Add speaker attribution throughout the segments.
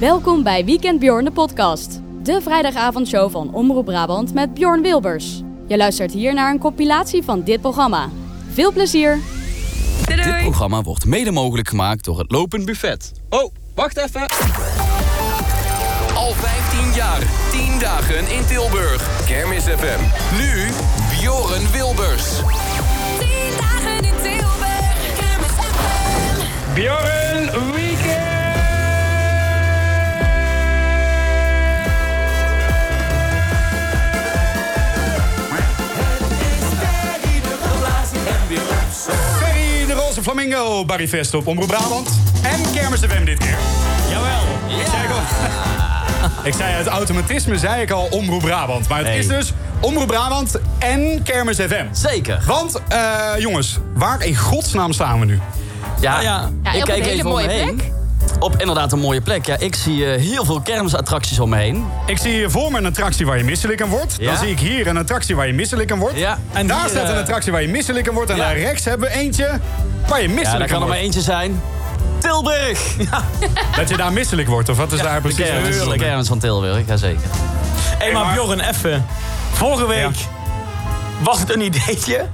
Speaker 1: Welkom bij Weekend Bjorn de podcast. De vrijdagavondshow van Omroep Brabant met Bjorn Wilbers. Je luistert hier naar een compilatie van dit programma. Veel plezier!
Speaker 2: Dit programma wordt mede mogelijk gemaakt door het Lopend Buffet. Oh, wacht even. Al 15 jaar, 10 dagen in Tilburg. Kermis FM. Nu Bjorn Wilbers.
Speaker 3: Bjorn Weekend!
Speaker 4: Ferry, de roze flamingo, Barry Vest op Omroep Brabant. En Kermis FM dit keer. Jawel. Ik zei al- Ik zei het automatisme, zei ik al Omroep Brabant. Maar het
Speaker 5: Nee.
Speaker 4: is dus Omroep Brabant en Kermis FM.
Speaker 5: Zeker.
Speaker 4: Want, eh, jongens, waar in godsnaam staan we nu?
Speaker 5: Ja,
Speaker 6: Ja,
Speaker 5: ik
Speaker 6: op
Speaker 5: kijk
Speaker 6: een hele
Speaker 5: even
Speaker 6: mooie
Speaker 5: om me heen.
Speaker 6: plek.
Speaker 5: Op inderdaad een mooie plek. Ja, ik zie eh, heel veel kermisattracties om me heen.
Speaker 4: Ik zie hier voor me een attractie waar je misselijk aan wordt.
Speaker 5: Ja.
Speaker 4: Dan zie ik hier een attractie waar je misselijk aan wordt.
Speaker 5: Ja, en
Speaker 4: daar
Speaker 5: hier,
Speaker 4: staat een
Speaker 5: eh,
Speaker 4: attractie waar je misselijk aan wordt. En
Speaker 5: ja.
Speaker 4: daar rechts hebben we eentje waar je
Speaker 5: Ja,
Speaker 4: misselijk
Speaker 5: daar
Speaker 4: aan
Speaker 5: kan er maar
Speaker 4: wordt.
Speaker 5: eentje zijn. Tilburg! Ja,
Speaker 4: Dat je daar misselijk wordt, of wat is daar precies? het
Speaker 5: kermis,
Speaker 4: verschil?
Speaker 5: de kermis van Tilburg, jazeker.
Speaker 7: Hé, maar Bjorn, even. Vorige week was het een ideetje.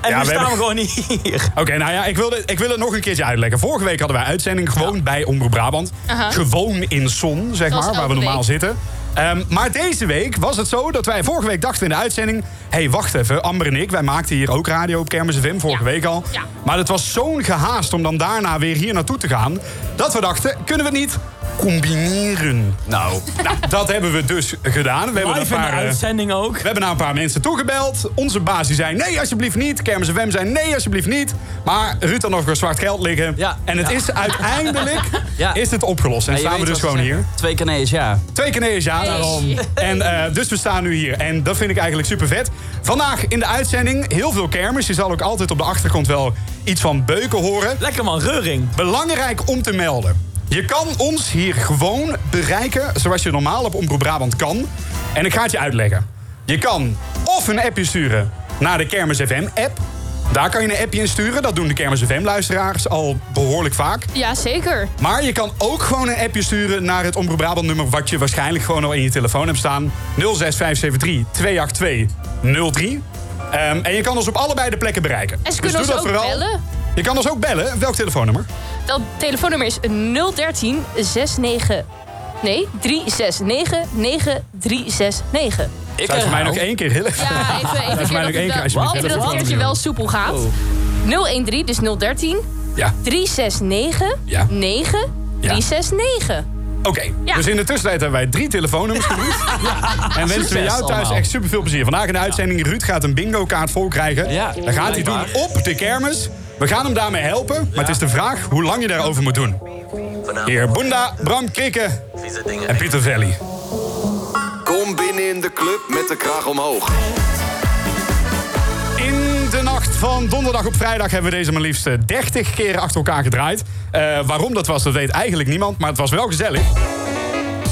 Speaker 7: En
Speaker 4: Ja,
Speaker 7: nu
Speaker 4: we
Speaker 7: staan
Speaker 4: hebben-
Speaker 7: we gewoon hier.
Speaker 4: Oké, nou ja, ik wil, dit- ik wil het nog een keertje uitleggen. Vorige week hadden wij uitzending gewoon bij Omroep Brabant. Gewoon in zon, zeg
Speaker 6: Zoals
Speaker 4: maar, waar we
Speaker 6: elke
Speaker 4: normaal
Speaker 6: week.
Speaker 4: zitten. Ehm, maar deze week was het zo dat wij vorige week dachten in de uitzending... hé, hey, wacht even, Amber en ik, wij maakten hier ook radio op Kermis FM vorige
Speaker 6: Ja.
Speaker 4: week al.
Speaker 6: Ja.
Speaker 4: Maar het was zo'n gehaast om dan daarna weer hier naartoe te gaan... dat we dachten, kunnen we het niet combineren?
Speaker 5: Nou,
Speaker 4: nou, dat hebben we dus gedaan. We hebben
Speaker 7: Live in de
Speaker 4: eh,
Speaker 7: uitzending ook.
Speaker 4: we hebben naar een paar mensen toegebeld. Onze baas die zei nee, alsjeblieft niet. Kermis FM zei nee, alsjeblieft niet. Maar Ruud had nog een zwart geld liggen.
Speaker 5: Ja.
Speaker 4: En het is uiteindelijk
Speaker 5: Ja.
Speaker 4: is het opgelost. En
Speaker 5: Ja, je
Speaker 4: staan we
Speaker 5: weet
Speaker 4: dus
Speaker 5: wat
Speaker 4: gewoon
Speaker 5: ze
Speaker 4: hier.
Speaker 5: zeggen. Twee Canadees, ja.
Speaker 4: Twee keer nee is ja. Daarom. En eh, dus we staan nu hier. En dat vind ik eigenlijk super vet. Vandaag in de uitzending heel veel kermis. Je zal ook altijd op de achtergrond wel iets van beuken horen.
Speaker 7: Lekker man, reuring.
Speaker 4: Belangrijk om te melden. Je kan ons hier gewoon bereiken zoals je normaal op Omroep Brabant kan. En ik ga het je uitleggen. Je kan of een appje sturen naar de Kermis FM app. Daar kan je een appje in sturen. Dat doen de Kermis FM luisteraars al behoorlijk vaak.
Speaker 6: Ja, zeker.
Speaker 4: Maar je kan ook gewoon een appje sturen naar het Omroep Brabant nummer... wat je waarschijnlijk gewoon al in je telefoon hebt staan. 06573 28203. Ehm, en je kan ons op allebei de plekken bereiken. Dus
Speaker 6: En ze kunnen
Speaker 4: doe
Speaker 6: ons
Speaker 4: dat
Speaker 6: ook
Speaker 4: vooral.
Speaker 6: bellen.
Speaker 4: Je kan ons ook bellen. Welk telefoonnummer?
Speaker 6: Dat telefoonnummer is 013 69. Nee, 369 9369.
Speaker 5: Ik
Speaker 4: Zou je voor mij nog
Speaker 5: herhaal.
Speaker 4: één keer heel even...
Speaker 6: Ja, even, even
Speaker 4: is mij
Speaker 6: dat
Speaker 4: ook één keer,
Speaker 6: het wel-
Speaker 4: alsjeblieft.
Speaker 6: altijd dat
Speaker 4: Wat?
Speaker 6: het keertje wel soepel gaat.
Speaker 5: Oh.
Speaker 6: 013, dus 013
Speaker 4: Ja.
Speaker 6: 369
Speaker 4: Ja.
Speaker 6: 9 369.
Speaker 4: Oké,
Speaker 6: Ja.
Speaker 4: dus in de tussentijd hebben wij drie telefoonnummers genoemd. En wensen we
Speaker 5: Succes
Speaker 4: jou thuis
Speaker 5: allemaal.
Speaker 4: echt super veel plezier. Vandaag in de uitzending, Ruud gaat een bingo kaart vol krijgen.
Speaker 5: Ja,
Speaker 4: Dan gaat hij doen
Speaker 5: blijkbaar.
Speaker 4: op de kermis. We gaan hem daarmee helpen, maar het is de vraag hoe lang je daarover moet doen. Heer Bunda, Bram Krikke en Pieter Velli.
Speaker 8: Kom binnen in de club met de kraag omhoog.
Speaker 4: In de nacht van donderdag op vrijdag hebben we deze maar liefst eh, 30 keer achter elkaar gedraaid. Eh, waarom dat was, dat weet eigenlijk niemand, maar het was wel gezellig.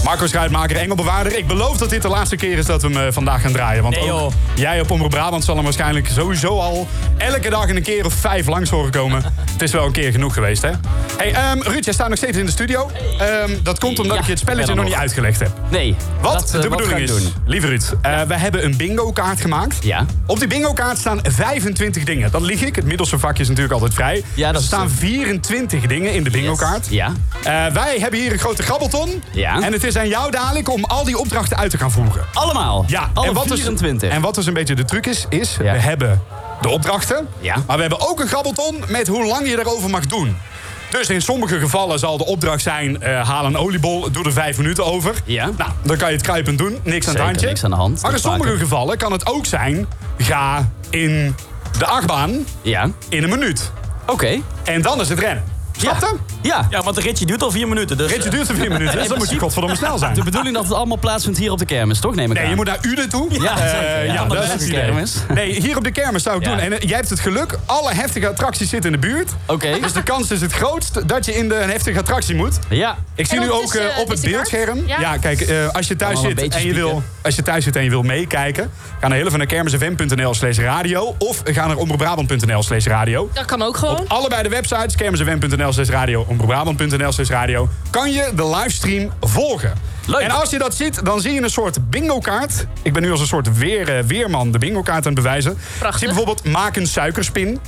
Speaker 4: Marco Schuitmaker, Engelbewaarder. Ik beloof dat dit de laatste keer is dat we hem eh, vandaag gaan draaien. Want
Speaker 7: Nee,
Speaker 4: ook
Speaker 7: joh.
Speaker 4: jij op Omroep Brabant zal hem waarschijnlijk sowieso al elke dag in een keer of vijf langs horen komen. het is wel een keer genoeg geweest, hè? Hey, ehm, Ruud, jij staat nog steeds in de studio. Ehm, dat komt omdat
Speaker 5: Ja,
Speaker 4: ik je het spelletje
Speaker 5: ben er
Speaker 4: nog niet
Speaker 5: nog.
Speaker 4: uitgelegd heb.
Speaker 5: Nee.
Speaker 4: Wat
Speaker 5: dat, eh,
Speaker 4: de
Speaker 5: ga
Speaker 4: bedoeling
Speaker 5: ik
Speaker 4: is,
Speaker 5: doen?
Speaker 4: lieve Ruud, eh, we hebben een bingo-kaart gemaakt.
Speaker 5: Ja.
Speaker 4: Op die bingo-kaart staan 25 dingen. Dat lieg ik, het middelste vakje is natuurlijk altijd vrij.
Speaker 5: Ja, dat
Speaker 4: er
Speaker 5: is
Speaker 4: staan
Speaker 5: zo.
Speaker 4: 24 dingen in de bingo-kaart.
Speaker 5: Ja.
Speaker 4: Eh, wij hebben hier een grote grabbelton.
Speaker 5: Ja.
Speaker 4: En het is aan jou dadelijk om al die opdrachten uit te gaan voeren.
Speaker 5: Allemaal. Alle
Speaker 4: en wat, Is,
Speaker 5: 24.
Speaker 4: en wat dus een beetje de truc is, is
Speaker 5: Ja.
Speaker 4: we hebben de opdrachten.
Speaker 5: Ja.
Speaker 4: Maar we hebben ook een grabbelton met hoe lang je daarover mag doen. Dus in sommige gevallen zal de opdracht zijn... eh, haal een oliebol, doe er vijf minuten over.
Speaker 5: Ja.
Speaker 4: Nou, dan kan je het kruipend doen. Niks aan het
Speaker 5: Zeker,
Speaker 4: handje.
Speaker 5: niks aan de hand.
Speaker 4: Maar in
Speaker 5: Dat
Speaker 4: sommige
Speaker 5: vaker.
Speaker 4: gevallen kan het ook zijn... ga in de achtbaan
Speaker 5: Ja.
Speaker 4: in een minuut.
Speaker 5: Oké.
Speaker 4: En dan is het rennen. Snap je?
Speaker 5: Ja. Ja.
Speaker 7: Ja, want de ritje duurt al vier minuten. Dus,
Speaker 4: Ritje duurt er vier minuten, dus dan moet je godverdomme snel zijn.
Speaker 5: De bedoeling dat het allemaal plaatsvindt hier op de kermis, toch? Neem ik
Speaker 4: Nee,
Speaker 5: aan.
Speaker 4: je moet naar Uden toe.
Speaker 5: Ja,
Speaker 4: Eh,
Speaker 5: zeker. Ja,
Speaker 4: ja
Speaker 5: want
Speaker 4: dat
Speaker 5: dat
Speaker 4: is
Speaker 5: is
Speaker 4: het
Speaker 5: een
Speaker 4: idee.
Speaker 5: kermis.
Speaker 4: Nee, hier op de kermis zou ik
Speaker 5: Ja.
Speaker 4: doen. En eh, jij hebt het geluk, alle heftige attracties zitten in de buurt.
Speaker 5: Oké.
Speaker 4: Dus de kans is het grootst dat je in de, een heftige attractie moet.
Speaker 5: Ja.
Speaker 4: Ik zie
Speaker 6: En
Speaker 4: nu ook
Speaker 6: ondertussen,
Speaker 4: eh, op
Speaker 6: is
Speaker 4: het
Speaker 6: de kaart?
Speaker 4: beeldscherm. Ja,
Speaker 6: Ja.
Speaker 4: kijk, eh, als, je thuis
Speaker 5: Kan wel een
Speaker 4: zit en
Speaker 5: beetje
Speaker 4: je wil,
Speaker 5: spieken.
Speaker 4: als je thuis zit en je wil meekijken... ga naar hele van de kermisfm.nl slash radio... of ga naar omroepbrabant.nl slash radio.
Speaker 6: Dat kan ook gewoon.
Speaker 4: Allebei de websites, kermisfm.nl omroepbrabant.nl slash radio, omroepbrabant.nl slash radio... kan je de livestream volgen.
Speaker 5: Leuk.
Speaker 4: En als je dat ziet, dan zie je een soort bingo-kaart. Ik ben nu als een soort weer, eh, weerman de bingo-kaart aan het bewijzen.
Speaker 6: Prachtig.
Speaker 4: Ik zie bijvoorbeeld, maak een suikerspin.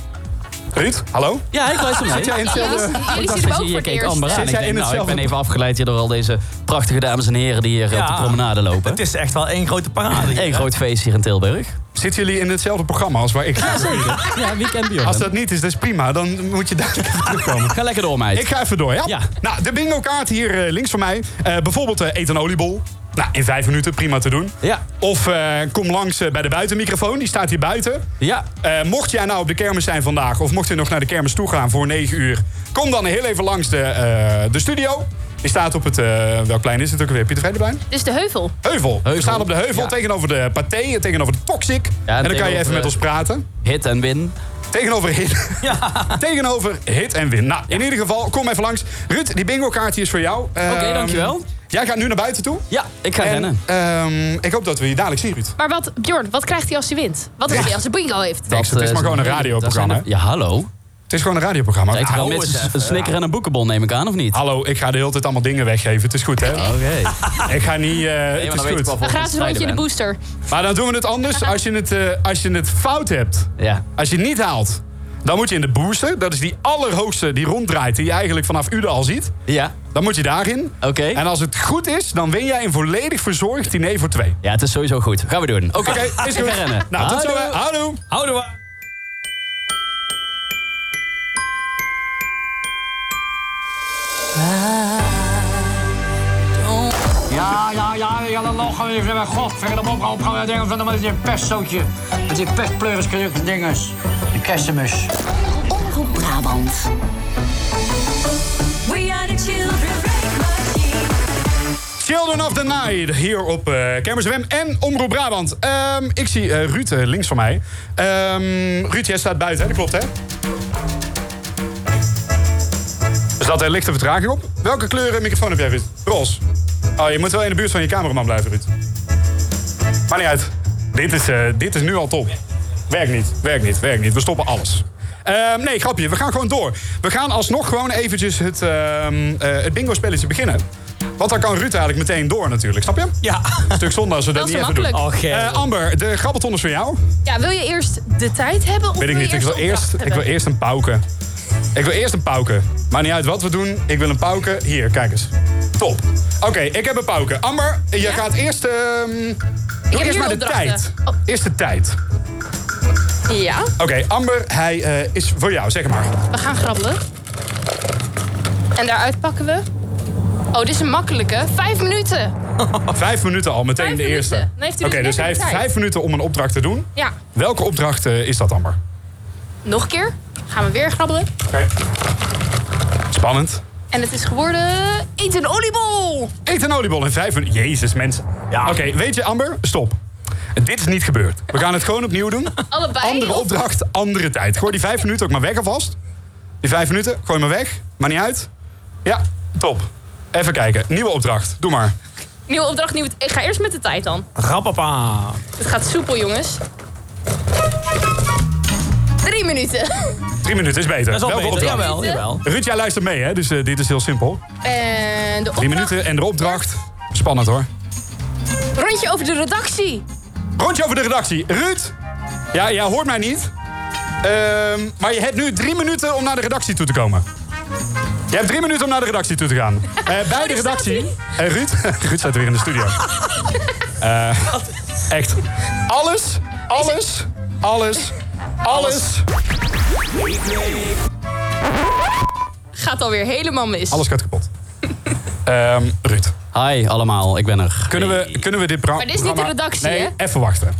Speaker 4: Ruud, hallo?
Speaker 5: Ja, ik luister mee.
Speaker 4: Zit jij in hetzelfde...
Speaker 6: Jullie zien hem ook voor
Speaker 5: Hier
Speaker 6: het
Speaker 5: keek
Speaker 6: eerst.
Speaker 5: Amber aan.
Speaker 4: Zit
Speaker 5: Ik,
Speaker 4: jij
Speaker 5: denk,
Speaker 4: in
Speaker 5: nou, ik ben
Speaker 4: hetzelfde-
Speaker 5: even afgeleid hier door al deze prachtige dames en heren die hier eh, op de
Speaker 7: Ja.
Speaker 5: promenade lopen.
Speaker 7: Het is echt wel één grote parade. hier,
Speaker 5: Eén
Speaker 7: hè?
Speaker 5: groot feest hier in Tilburg.
Speaker 4: Zitten jullie in hetzelfde programma als waar ik ga?
Speaker 5: Ja, weekend
Speaker 4: Als
Speaker 5: Bjorn.
Speaker 4: dat niet is, dat is prima. Dan moet je duidelijk even terugkomen.
Speaker 5: Ga lekker door, meid.
Speaker 4: Ik ga even door, ja?
Speaker 5: Ja.
Speaker 4: Nou, de bingo kaart hier eh, links van mij. Eh, bijvoorbeeld eh, eet een oliebol. Nou, in vijf minuten, prima te doen.
Speaker 5: Ja.
Speaker 4: Of eh, kom langs eh, bij de buitenmicrofoon, die staat hier buiten.
Speaker 5: Ja.
Speaker 4: Eh, mocht jij nou op de kermis zijn vandaag, of mocht je nog naar de kermis toe gaan voor 9 uur, kom dan heel even langs de, eh, de studio. Die staat op het, eh, welk plein is het ook weer? Pieter Vrijdeplein?
Speaker 6: Dus de heuvel.
Speaker 4: Heuvel. We
Speaker 5: Heuvel.
Speaker 4: staan op de heuvel
Speaker 5: Ja.
Speaker 4: tegenover de Pathé, tegenover de Toxic.
Speaker 5: en
Speaker 4: en dan kan je even
Speaker 5: tegenover,
Speaker 4: met
Speaker 5: eh,
Speaker 4: ons praten.
Speaker 5: Hit en win.
Speaker 4: Tegenover hit. Tegenover hit en win. Nou, in ieder geval, kom even langs. Ruud, die bingo kaart is voor jou. Ehm,
Speaker 5: dankjewel.
Speaker 4: Jij gaat nu naar buiten toe.
Speaker 5: Ja, ik ga
Speaker 4: En
Speaker 5: rennen.
Speaker 4: ehm, ik hoop dat we je dadelijk zien, Ruud.
Speaker 6: Maar wat, Bjorn, wat krijgt hij als hij wint? Wat als hij als hij bingo heeft?
Speaker 4: Niks, het
Speaker 5: eh,
Speaker 4: is maar gewoon een
Speaker 5: dat
Speaker 4: radioprogramma,
Speaker 5: zijn de- Ja, hallo.
Speaker 4: Het is gewoon een radioprogramma.
Speaker 5: Lijkt wel
Speaker 4: Hallo,
Speaker 5: met
Speaker 4: het is-
Speaker 5: een- een snicker en een boekenbon, neem ik aan, of niet?
Speaker 4: Hallo, ik ga de hele tijd allemaal dingen weggeven. Het is goed, hè?
Speaker 5: Oké.
Speaker 4: Ik ga niet... eh, het is goed.
Speaker 6: Een gratis rondje in de booster.
Speaker 4: Maar dan doen we het anders. Als je het, eh, als je het fout hebt,
Speaker 5: Ja.
Speaker 4: als je het niet haalt... dan moet je in de booster. Dat is die allerhoogste die ronddraait... die je eigenlijk vanaf Ude al ziet.
Speaker 5: Ja.
Speaker 4: Dan moet je daarin.
Speaker 5: Oké.
Speaker 4: En als het goed is, dan win jij een volledig verzorgd diner voor twee.
Speaker 5: Ja, het is sowieso goed. Gaan we doen. Oké.
Speaker 4: Oké, is goed.
Speaker 5: ga rennen.
Speaker 4: Nou, tot zo. hè.
Speaker 5: Houdoe.
Speaker 4: Houdoe.
Speaker 7: Houden we.
Speaker 9: Ja, ja, ja, ja, dan nog even bij godverdomme op. Al gaan we denken van dan met dit pestzootje. Met die pestpleuriskruk dinges. De kerstmis.
Speaker 10: Omroep Brabant. We are the children break machine.
Speaker 4: Children of the Night hier op eh Kermis FM en Omroep Brabant. Ehm, ik zie eh, Ruud eh, links van mij. Ehm, Ruud, jij staat buiten, hè? dat klopt hè? Er zat een lichte vertraging op. Welke kleur eh, microfoon heb jij, Ruud? Roze. Oh, je moet wel in de buurt van je cameraman blijven, Ruud. Maar niet uit. Dit is, eh, dit is nu al top. Werkt niet, werkt niet, werkt niet. We stoppen alles. Ehm, nee, grapje. We gaan gewoon door. We gaan alsnog gewoon eventjes het, ehm, eh, het bingo-spelletje beginnen. Want dan kan Ruud eigenlijk meteen door natuurlijk, snap je?
Speaker 7: Ja.
Speaker 4: Een stuk zonde als we dat,
Speaker 6: Dat is
Speaker 4: niet even
Speaker 6: makkelijk.
Speaker 4: doen.
Speaker 7: Oh, Gerrit.
Speaker 4: Eh, Amber, de grabbelton is voor jou.
Speaker 6: Ja, wil je eerst de tijd hebben? Of
Speaker 4: Weet ik niet. Ik wil, eerst, ik wil eerst een pauke. Ik wil eerst een pauke. Maakt niet uit wat we doen. Ik wil een pauke. Hier, kijk eens. Top. Oké, ik heb een pauke. Amber, jij gaat eerst... ehm doe
Speaker 6: heb
Speaker 4: eerst
Speaker 6: hier
Speaker 4: maar de tijd.
Speaker 6: opdrachten. Oh.
Speaker 4: Eerst de tijd.
Speaker 6: Ja,
Speaker 4: Oké, Amber, hij eh, is voor jou, zeg maar.
Speaker 6: we gaan grabbelen. En daaruit pakken we... Oh, dit is een makkelijke. Vijf minuten.
Speaker 4: Vijf minuten al, meteen
Speaker 6: Vijf
Speaker 4: de
Speaker 6: minuten.
Speaker 4: eerste.
Speaker 6: Dan heeft hij
Speaker 4: Oké, dus
Speaker 6: dus net
Speaker 4: hij
Speaker 6: de
Speaker 4: heeft
Speaker 6: tijd.
Speaker 4: vijf minuten om een opdracht te doen.
Speaker 6: Ja,
Speaker 4: Welke opdracht eh, is dat, Amber?
Speaker 6: nog een keer. Gaan we weer grabbelen.
Speaker 4: Spannend.
Speaker 6: En het is geworden... Eet een oliebol!
Speaker 4: Eet een oliebol in vijf minuten. Jezus, mensen.
Speaker 7: Ja.
Speaker 4: Oké, weet je, Amber, stop. Dit is niet gebeurd. We gaan het gewoon opnieuw doen.
Speaker 6: Allebei?
Speaker 4: Andere
Speaker 6: of-
Speaker 4: opdracht, andere tijd. Gooi die vijf minuten ook maar weg alvast. Die vijf minuten, gooi maar weg. Maar niet uit. Ja, top. Even kijken. Nieuwe opdracht. Doe maar.
Speaker 6: Nieuwe opdracht, nieuw... Ik ga eerst met de tijd dan.
Speaker 7: Rappapa.
Speaker 6: Het gaat soepel, jongens. Drie minuten.
Speaker 4: Drie minuten is beter.
Speaker 7: Dat is al
Speaker 4: Welke
Speaker 7: beter.
Speaker 4: opdracht?
Speaker 7: Jawel, jawel.
Speaker 4: Ruud, jij luistert mee, hè? Dus eh, dit is heel simpel.
Speaker 6: En de opdracht...
Speaker 4: Drie minuten en de opdracht. Spannend hoor.
Speaker 6: Rondje over de redactie.
Speaker 4: Rondje over de redactie. Ruud, ja, jij hoort mij niet. Ehm, maar je hebt nu drie minuten om naar de redactie toe te komen. Je hebt drie minuten om naar de redactie toe te gaan. Eh, bij de redactie. Eh, Ruud, Ruud staat weer in de studio. Eh, echt. Alles, alles, alles, alles.
Speaker 6: Gaat alweer helemaal mis.
Speaker 4: Alles gaat kapot. Ehm, Ruud,
Speaker 5: Hi allemaal, ik ben er.
Speaker 4: kunnen we, kunnen we dit pro- programma...
Speaker 6: Maar dit is niet de redactie,
Speaker 4: Nee,
Speaker 6: hè?
Speaker 4: even wachten.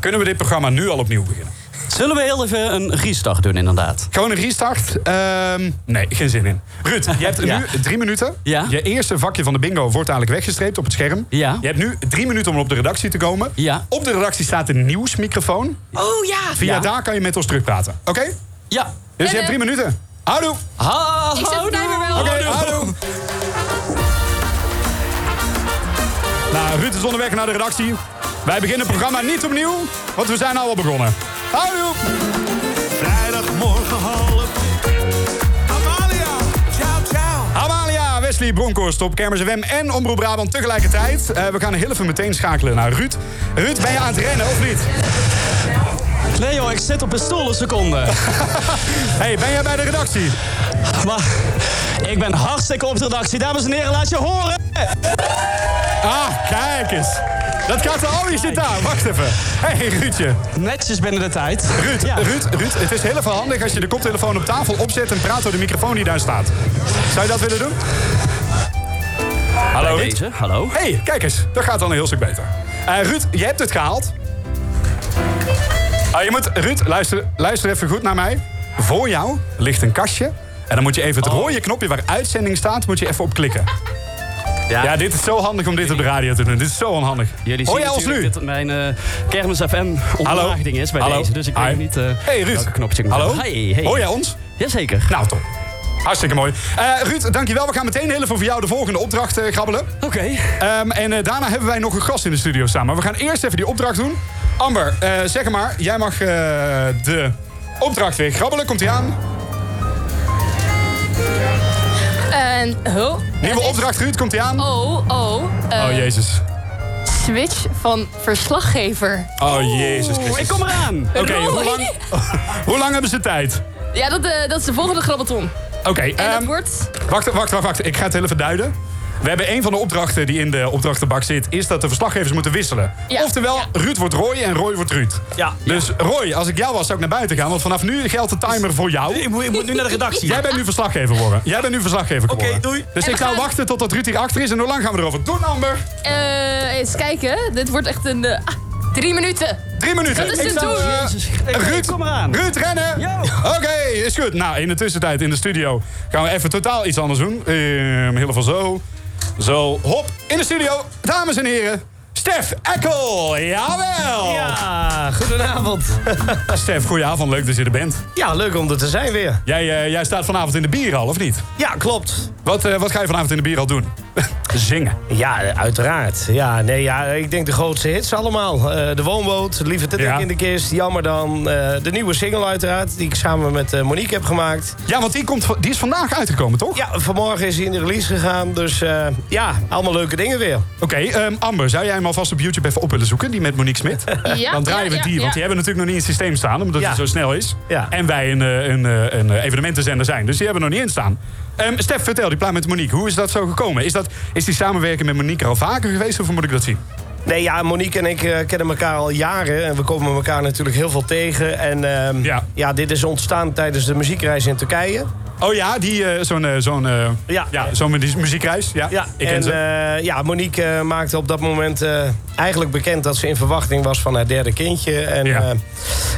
Speaker 4: Kunnen we dit programma nu al opnieuw beginnen?
Speaker 5: Zullen we heel even een restart doen, inderdaad?
Speaker 4: Gewoon een restart? Ehm, nee, geen zin in. Ruud, je hebt
Speaker 5: Ja.
Speaker 4: nu drie minuten.
Speaker 5: Ja.
Speaker 4: Je eerste vakje van de bingo wordt eigenlijk weggestreept op het scherm.
Speaker 5: Ja.
Speaker 4: Je hebt nu drie minuten om op de redactie te komen.
Speaker 5: Ja.
Speaker 4: Op de redactie staat een nieuwsmicrofoon.
Speaker 6: Oh ja.
Speaker 4: Via
Speaker 5: Ja.
Speaker 4: daar kan je met ons terugpraten. Oké?
Speaker 5: Ja.
Speaker 4: Dus je
Speaker 6: En,
Speaker 4: hebt drie minuten. Houdoe! Oké,
Speaker 5: Ha,
Speaker 6: Ik zet de timer wel.
Speaker 4: houdoe! Nou, Ruud is onderweg naar de redactie. Wij beginnen het programma niet opnieuw, want we zijn al al begonnen. Houdoe!
Speaker 11: Vrijdagmorgen half. Amalia.
Speaker 4: Wesley Bronkhorst op Kermis FM en Omroep Brabant tegelijkertijd. Eh, we gaan heel even meteen schakelen naar Ruud. Ruud, ben je aan het rennen of niet?
Speaker 5: Nee joh, ik zit op een stoel een seconde.
Speaker 4: hey, ben jij bij de redactie?
Speaker 5: Maar ik ben hartstikke op de redactie. Dames en heren, laat je horen.
Speaker 4: Ah, kijk eens. Dat gaat er al, je zit daar. Wacht even. hey, Ruudje.
Speaker 5: Netjes binnen de tijd.
Speaker 4: Ruud,
Speaker 5: Ja.
Speaker 4: Ruud, Ruud, het is heel even handig als je de koptelefoon op tafel opzet en praat door de microfoon die daar staat. Zou je dat willen doen? Hallo Ruud.
Speaker 5: Deze, hallo.
Speaker 4: hey, kijk eens. Dat gaat dan een heel stuk beter. Eh, Ruud, je hebt het gehaald. Ah, je moet, Ruud, luister, luister even goed naar mij. Voor jou ligt een kastje. En dan moet je even het
Speaker 5: Oh.
Speaker 4: rode knopje waar uitzending staat, moet je even op klikken. Ja. dit is zo handig om dit op de radio te doen. Dit is zo onhandig.
Speaker 5: Jullie
Speaker 4: Hoor
Speaker 5: zien
Speaker 4: jij ons nu?
Speaker 5: natuurlijk dat mijn eh, Kermis FM
Speaker 4: Hallo?
Speaker 5: ontmaagding is bij
Speaker 4: Hallo?
Speaker 5: deze. Dus ik weet
Speaker 4: Hi.
Speaker 5: niet eh
Speaker 4: Hey Ruud.
Speaker 5: welke knopje ik moet
Speaker 4: Hallo?
Speaker 5: Hey, hey.
Speaker 4: Hoor jij ons?
Speaker 5: Jazeker.
Speaker 4: Nou, top. Hartstikke mooi. Eh, Ruud, dankjewel. We gaan meteen heel even voor jou de volgende opdracht eh, grabbelen.
Speaker 5: Oké.
Speaker 4: Ehm, en eh, daarna hebben wij nog een gast in de studio staan. Maar we gaan eerst even die opdracht doen. Amber, eh, zeg maar, jij mag eh, de opdracht weer grabbelen. Komt ie aan?
Speaker 6: En, oh,
Speaker 4: Nieuwe opdracht, Ruud. Komt ie aan?
Speaker 6: oh, oh. eh,
Speaker 4: Oh, jezus.
Speaker 6: switch van verslaggever.
Speaker 4: Oh, jezus
Speaker 5: Oeh, ik
Speaker 4: Christus.
Speaker 5: kom eraan.
Speaker 4: Oké, hoe, lang, hoe lang hebben ze tijd?
Speaker 6: Ja, dat, eh, dat is de volgende grabbelton.
Speaker 4: Oké,
Speaker 6: En dat
Speaker 4: ehm,
Speaker 6: wordt...
Speaker 4: Wacht, wacht, wacht, wacht. Ik ga het heel even duiden. We hebben een van de opdrachten die in de opdrachtenbak zit... is dat de verslaggevers moeten wisselen.
Speaker 6: Ja.
Speaker 4: Oftewel, Ruud wordt Roy en Roy wordt Ruud.
Speaker 7: Ja.
Speaker 4: Dus Roy, als ik jou was, zou ik naar buiten gaan... want vanaf nu geldt de timer voor jou.
Speaker 7: Ik moet, ik moet nu naar de redactie.
Speaker 4: Jij bent nu verslaggever geworden. Jij bent nu verslaggever geworden.
Speaker 7: doei.
Speaker 4: Dus
Speaker 6: En
Speaker 4: ik
Speaker 6: we
Speaker 4: zou
Speaker 6: gaan-
Speaker 4: wachten totdat Ruud hier achter is. En hoe lang gaan we erover? Doen, Amber.
Speaker 6: eh, eens kijken. Dit wordt echt een... eh, ah, drie minuten.
Speaker 4: Drie minuten.
Speaker 6: Dat is
Speaker 4: Ik
Speaker 6: een
Speaker 4: zou,
Speaker 6: doel.
Speaker 4: eh,
Speaker 5: Jezus, ik-
Speaker 4: Ruud,
Speaker 5: ik kom eraan.
Speaker 4: Ruud, rennen.
Speaker 5: Yo.
Speaker 4: Oké, is goed. Nou, in de tussentijd in de studio gaan we even totaal iets anders doen. Ehm heel veel zo. Zo, hop. In de studio, dames en heren. Stef Ekkel, jawel! Eh,
Speaker 7: Ja, goedenavond.
Speaker 4: Stef, goedenavond, leuk dat je er bent.
Speaker 7: Ja, leuk om er te zijn weer.
Speaker 4: Jij, eh, jij staat vanavond in de bierhal, of niet?
Speaker 7: Ja, klopt.
Speaker 4: Wat, eh, wat ga je vanavond in de bierhal doen? Zingen.
Speaker 11: Ja, uiteraard. Ja, nee, ja, ik denk de grootste hits allemaal. Eh, de Woonboot, Lieve Titte
Speaker 4: Ja.
Speaker 11: in de Kist, Jammer Dan. eh, de nieuwe single uiteraard, die ik samen met eh, Monique heb gemaakt.
Speaker 4: Ja, want die, komt, va- die is vandaag uitgekomen, toch?
Speaker 11: Ja, vanmorgen is hij in de release gegaan. Dus eh, ja, allemaal leuke dingen weer.
Speaker 4: Oké, ehm, Amber, zou jij hem alvast op YouTube even op willen zoeken? Die met Monique Smit?
Speaker 6: Ja,
Speaker 4: Eh, Dan draaien
Speaker 6: ja,
Speaker 4: we
Speaker 6: ja,
Speaker 4: die,
Speaker 6: ja.
Speaker 4: want die hebben natuurlijk nog niet in het systeem staan, omdat
Speaker 11: Ja.
Speaker 4: het zo snel is.
Speaker 11: Ja.
Speaker 4: En wij een, eh, een, eh, een evenementenzender zijn, dus die hebben er nog niet in staan. Ehm, Stef, vertel, die plaat met Monique, hoe is dat zo gekomen? Is, dat, is die samenwerking met Monique er al vaker geweest, of hoe moet ik dat zien?
Speaker 11: Nee, ja, Monique en ik eh, kennen elkaar al jaren. En we komen elkaar natuurlijk heel veel tegen. En ehm,
Speaker 4: Ja.
Speaker 11: ja. dit is ontstaan tijdens de muziekreis in Turkije.
Speaker 4: Oh ja, die, eh, zo'n eh, zo'n eh, ja.
Speaker 11: Ja.
Speaker 4: zo'n mu- die muziekreis. Ja,
Speaker 11: Ja,
Speaker 4: ik ken
Speaker 11: en,
Speaker 4: ze.
Speaker 11: eh, ja, Monique eh, maakte op dat moment eh, eigenlijk bekend dat ze in verwachting was van haar derde kindje. En
Speaker 4: Ja.
Speaker 11: ja,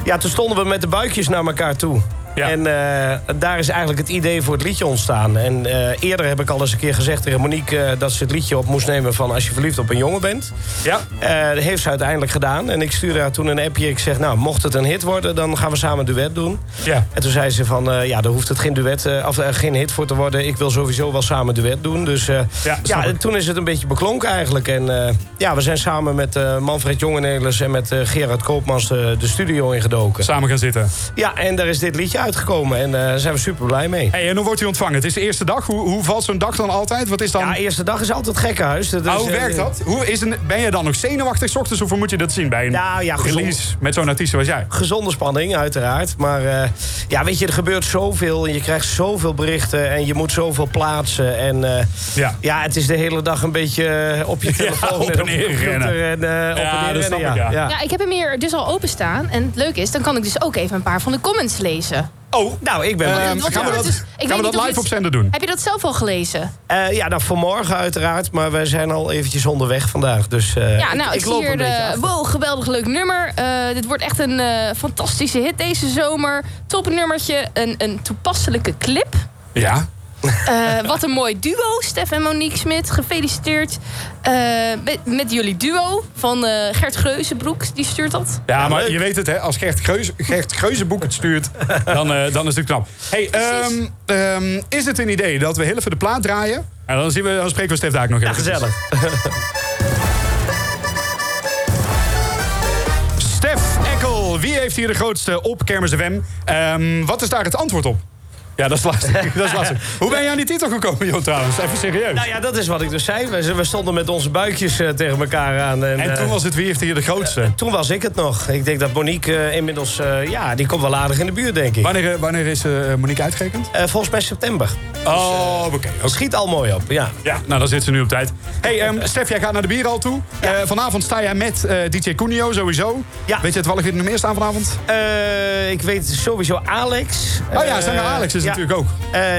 Speaker 11: ja toen stonden we met de buikjes naar elkaar toe.
Speaker 4: Ja.
Speaker 11: En eh, daar is eigenlijk het idee voor het liedje ontstaan. En eh, eerder heb ik al eens een keer gezegd tegen Monique eh, dat ze het liedje op moest nemen van als je verliefd op een jongen bent.
Speaker 4: ja.
Speaker 11: Eh, dat heeft ze uiteindelijk gedaan. En ik stuurde haar toen een appje. Ik zeg, nou, mocht het een hit worden, dan gaan we samen een duet doen.
Speaker 4: Ja.
Speaker 11: En toen zei ze van, eh, ja, daar hoeft het geen duet, eh, of eh, geen hit voor te worden. Ik wil sowieso wel samen een duet doen. Dus eh,
Speaker 4: Ja,
Speaker 11: ja,
Speaker 4: snap ik.
Speaker 11: toen is het een beetje beklonken eigenlijk. En eh, ja, we zijn samen met eh, Manfred Jongenelis en met eh, Gerard Koopmans eh, de studio ingedoken.
Speaker 4: Samen gaan zitten.
Speaker 11: Ja, en daar is dit liedje uitgekomen. En eh, daar zijn we super blij mee.
Speaker 4: Hey, en hoe wordt u ontvangen? Het is de eerste dag. Hoe, hoe valt zo'n dag dan altijd? Wat is dan...
Speaker 11: Ja, eerste dag is altijd gekkenhuis. Dat is,
Speaker 4: Ah, hoe
Speaker 11: eh,
Speaker 4: werkt dat? Hoe is een, ben je dan nog zenuwachtig 's ochtends of hoe moet je dat zien bij een
Speaker 11: Nou, ja, gezond.
Speaker 4: release met zo'n artiest zoals jij?
Speaker 11: gezonde spanning, uiteraard. Maar eh, ja, weet je, er gebeurt zoveel. En je krijgt zoveel berichten. En je moet zoveel plaatsen. En eh,
Speaker 4: Ja.
Speaker 11: ja. het is de hele dag een beetje eh, op je telefoon.
Speaker 4: op en
Speaker 11: op je
Speaker 4: neer
Speaker 11: computer
Speaker 4: rennen.
Speaker 11: En, eh, op
Speaker 4: Ja,
Speaker 11: en neer
Speaker 4: dat snap
Speaker 11: rennen,
Speaker 4: ik, ja.
Speaker 6: Ja, ik heb hem hier dus al openstaan. En het leuke is, dan kan ik dus ook even een paar van de comments lezen.
Speaker 4: Oh,
Speaker 11: Nou, ik ben blij.
Speaker 4: Ehm,
Speaker 6: Want
Speaker 4: gaan we
Speaker 6: het
Speaker 4: dat,
Speaker 6: is- ik
Speaker 4: gaan
Speaker 6: weet
Speaker 4: we
Speaker 6: niet
Speaker 4: dat
Speaker 6: of
Speaker 4: live
Speaker 6: dit-
Speaker 4: op zender doen?
Speaker 6: Heb je dat zelf al gelezen?
Speaker 11: Eh, ja, nou, vanmorgen uiteraard. Maar wij zijn al eventjes onderweg vandaag. Dus eh,
Speaker 6: Ja, nou, ik, zie
Speaker 11: loop
Speaker 6: hier
Speaker 11: een beetje
Speaker 6: de...
Speaker 11: achter.
Speaker 6: Wow, geweldig leuk nummer. Eh, dit wordt echt een eh, fantastische hit deze zomer. Topnummertje, een, een toepasselijke clip.
Speaker 4: Ja.
Speaker 6: Eh, wat een mooi duo, Stef en Monique Smit. Gefeliciteerd eh, met, met jullie duo van eh, Gert Greuzenbroek. Die stuurt dat.
Speaker 4: Ja, maar
Speaker 11: leuk.
Speaker 4: je weet het, hè? als Gert, Geus, Gert Geuzenboek het stuurt, dan, eh, dan is het knap. Hey, ehm, ehm, is het een idee dat we heel even de plaat draaien? En dan, zien we, dan spreken we Stef daar ook nog even.
Speaker 11: Gezellig.
Speaker 4: Stef Ekkel, wie heeft hier de grootste op Kermis FM? Ehm, wat is daar het antwoord op? Ja, dat is lastig. dat is lastig. Hoe ben je aan die titel gekomen, joh, trouwens? Even serieus.
Speaker 11: Nou ja, dat is wat ik dus zei. We, we stonden met onze buikjes eh, tegen elkaar aan. En, eh,
Speaker 4: En toen was het wie heeft hier de grootste?
Speaker 11: toen was ik het nog. Ik denk dat Monique eh, inmiddels, eh, ja, die komt wel aardig in de buurt, denk ik.
Speaker 4: Wanneer, eh, wanneer is eh, Monique uitgerekend?
Speaker 11: Eh, volgens mij september.
Speaker 4: Oh, oké.
Speaker 11: Schiet al mooi op, ja.
Speaker 4: Ja, nou dan zit ze nu op tijd. hey, ehm, Stef, jij gaat naar de bierhal toe. Eh, vanavond sta jij met eh, DJ Cunio sowieso. Weet je toevallig wie er nog meer staan vanavond?
Speaker 11: Eh, ik weet sowieso Alex. Eh,
Speaker 4: Oh ja, zijn er Alex is natuurlijk ook.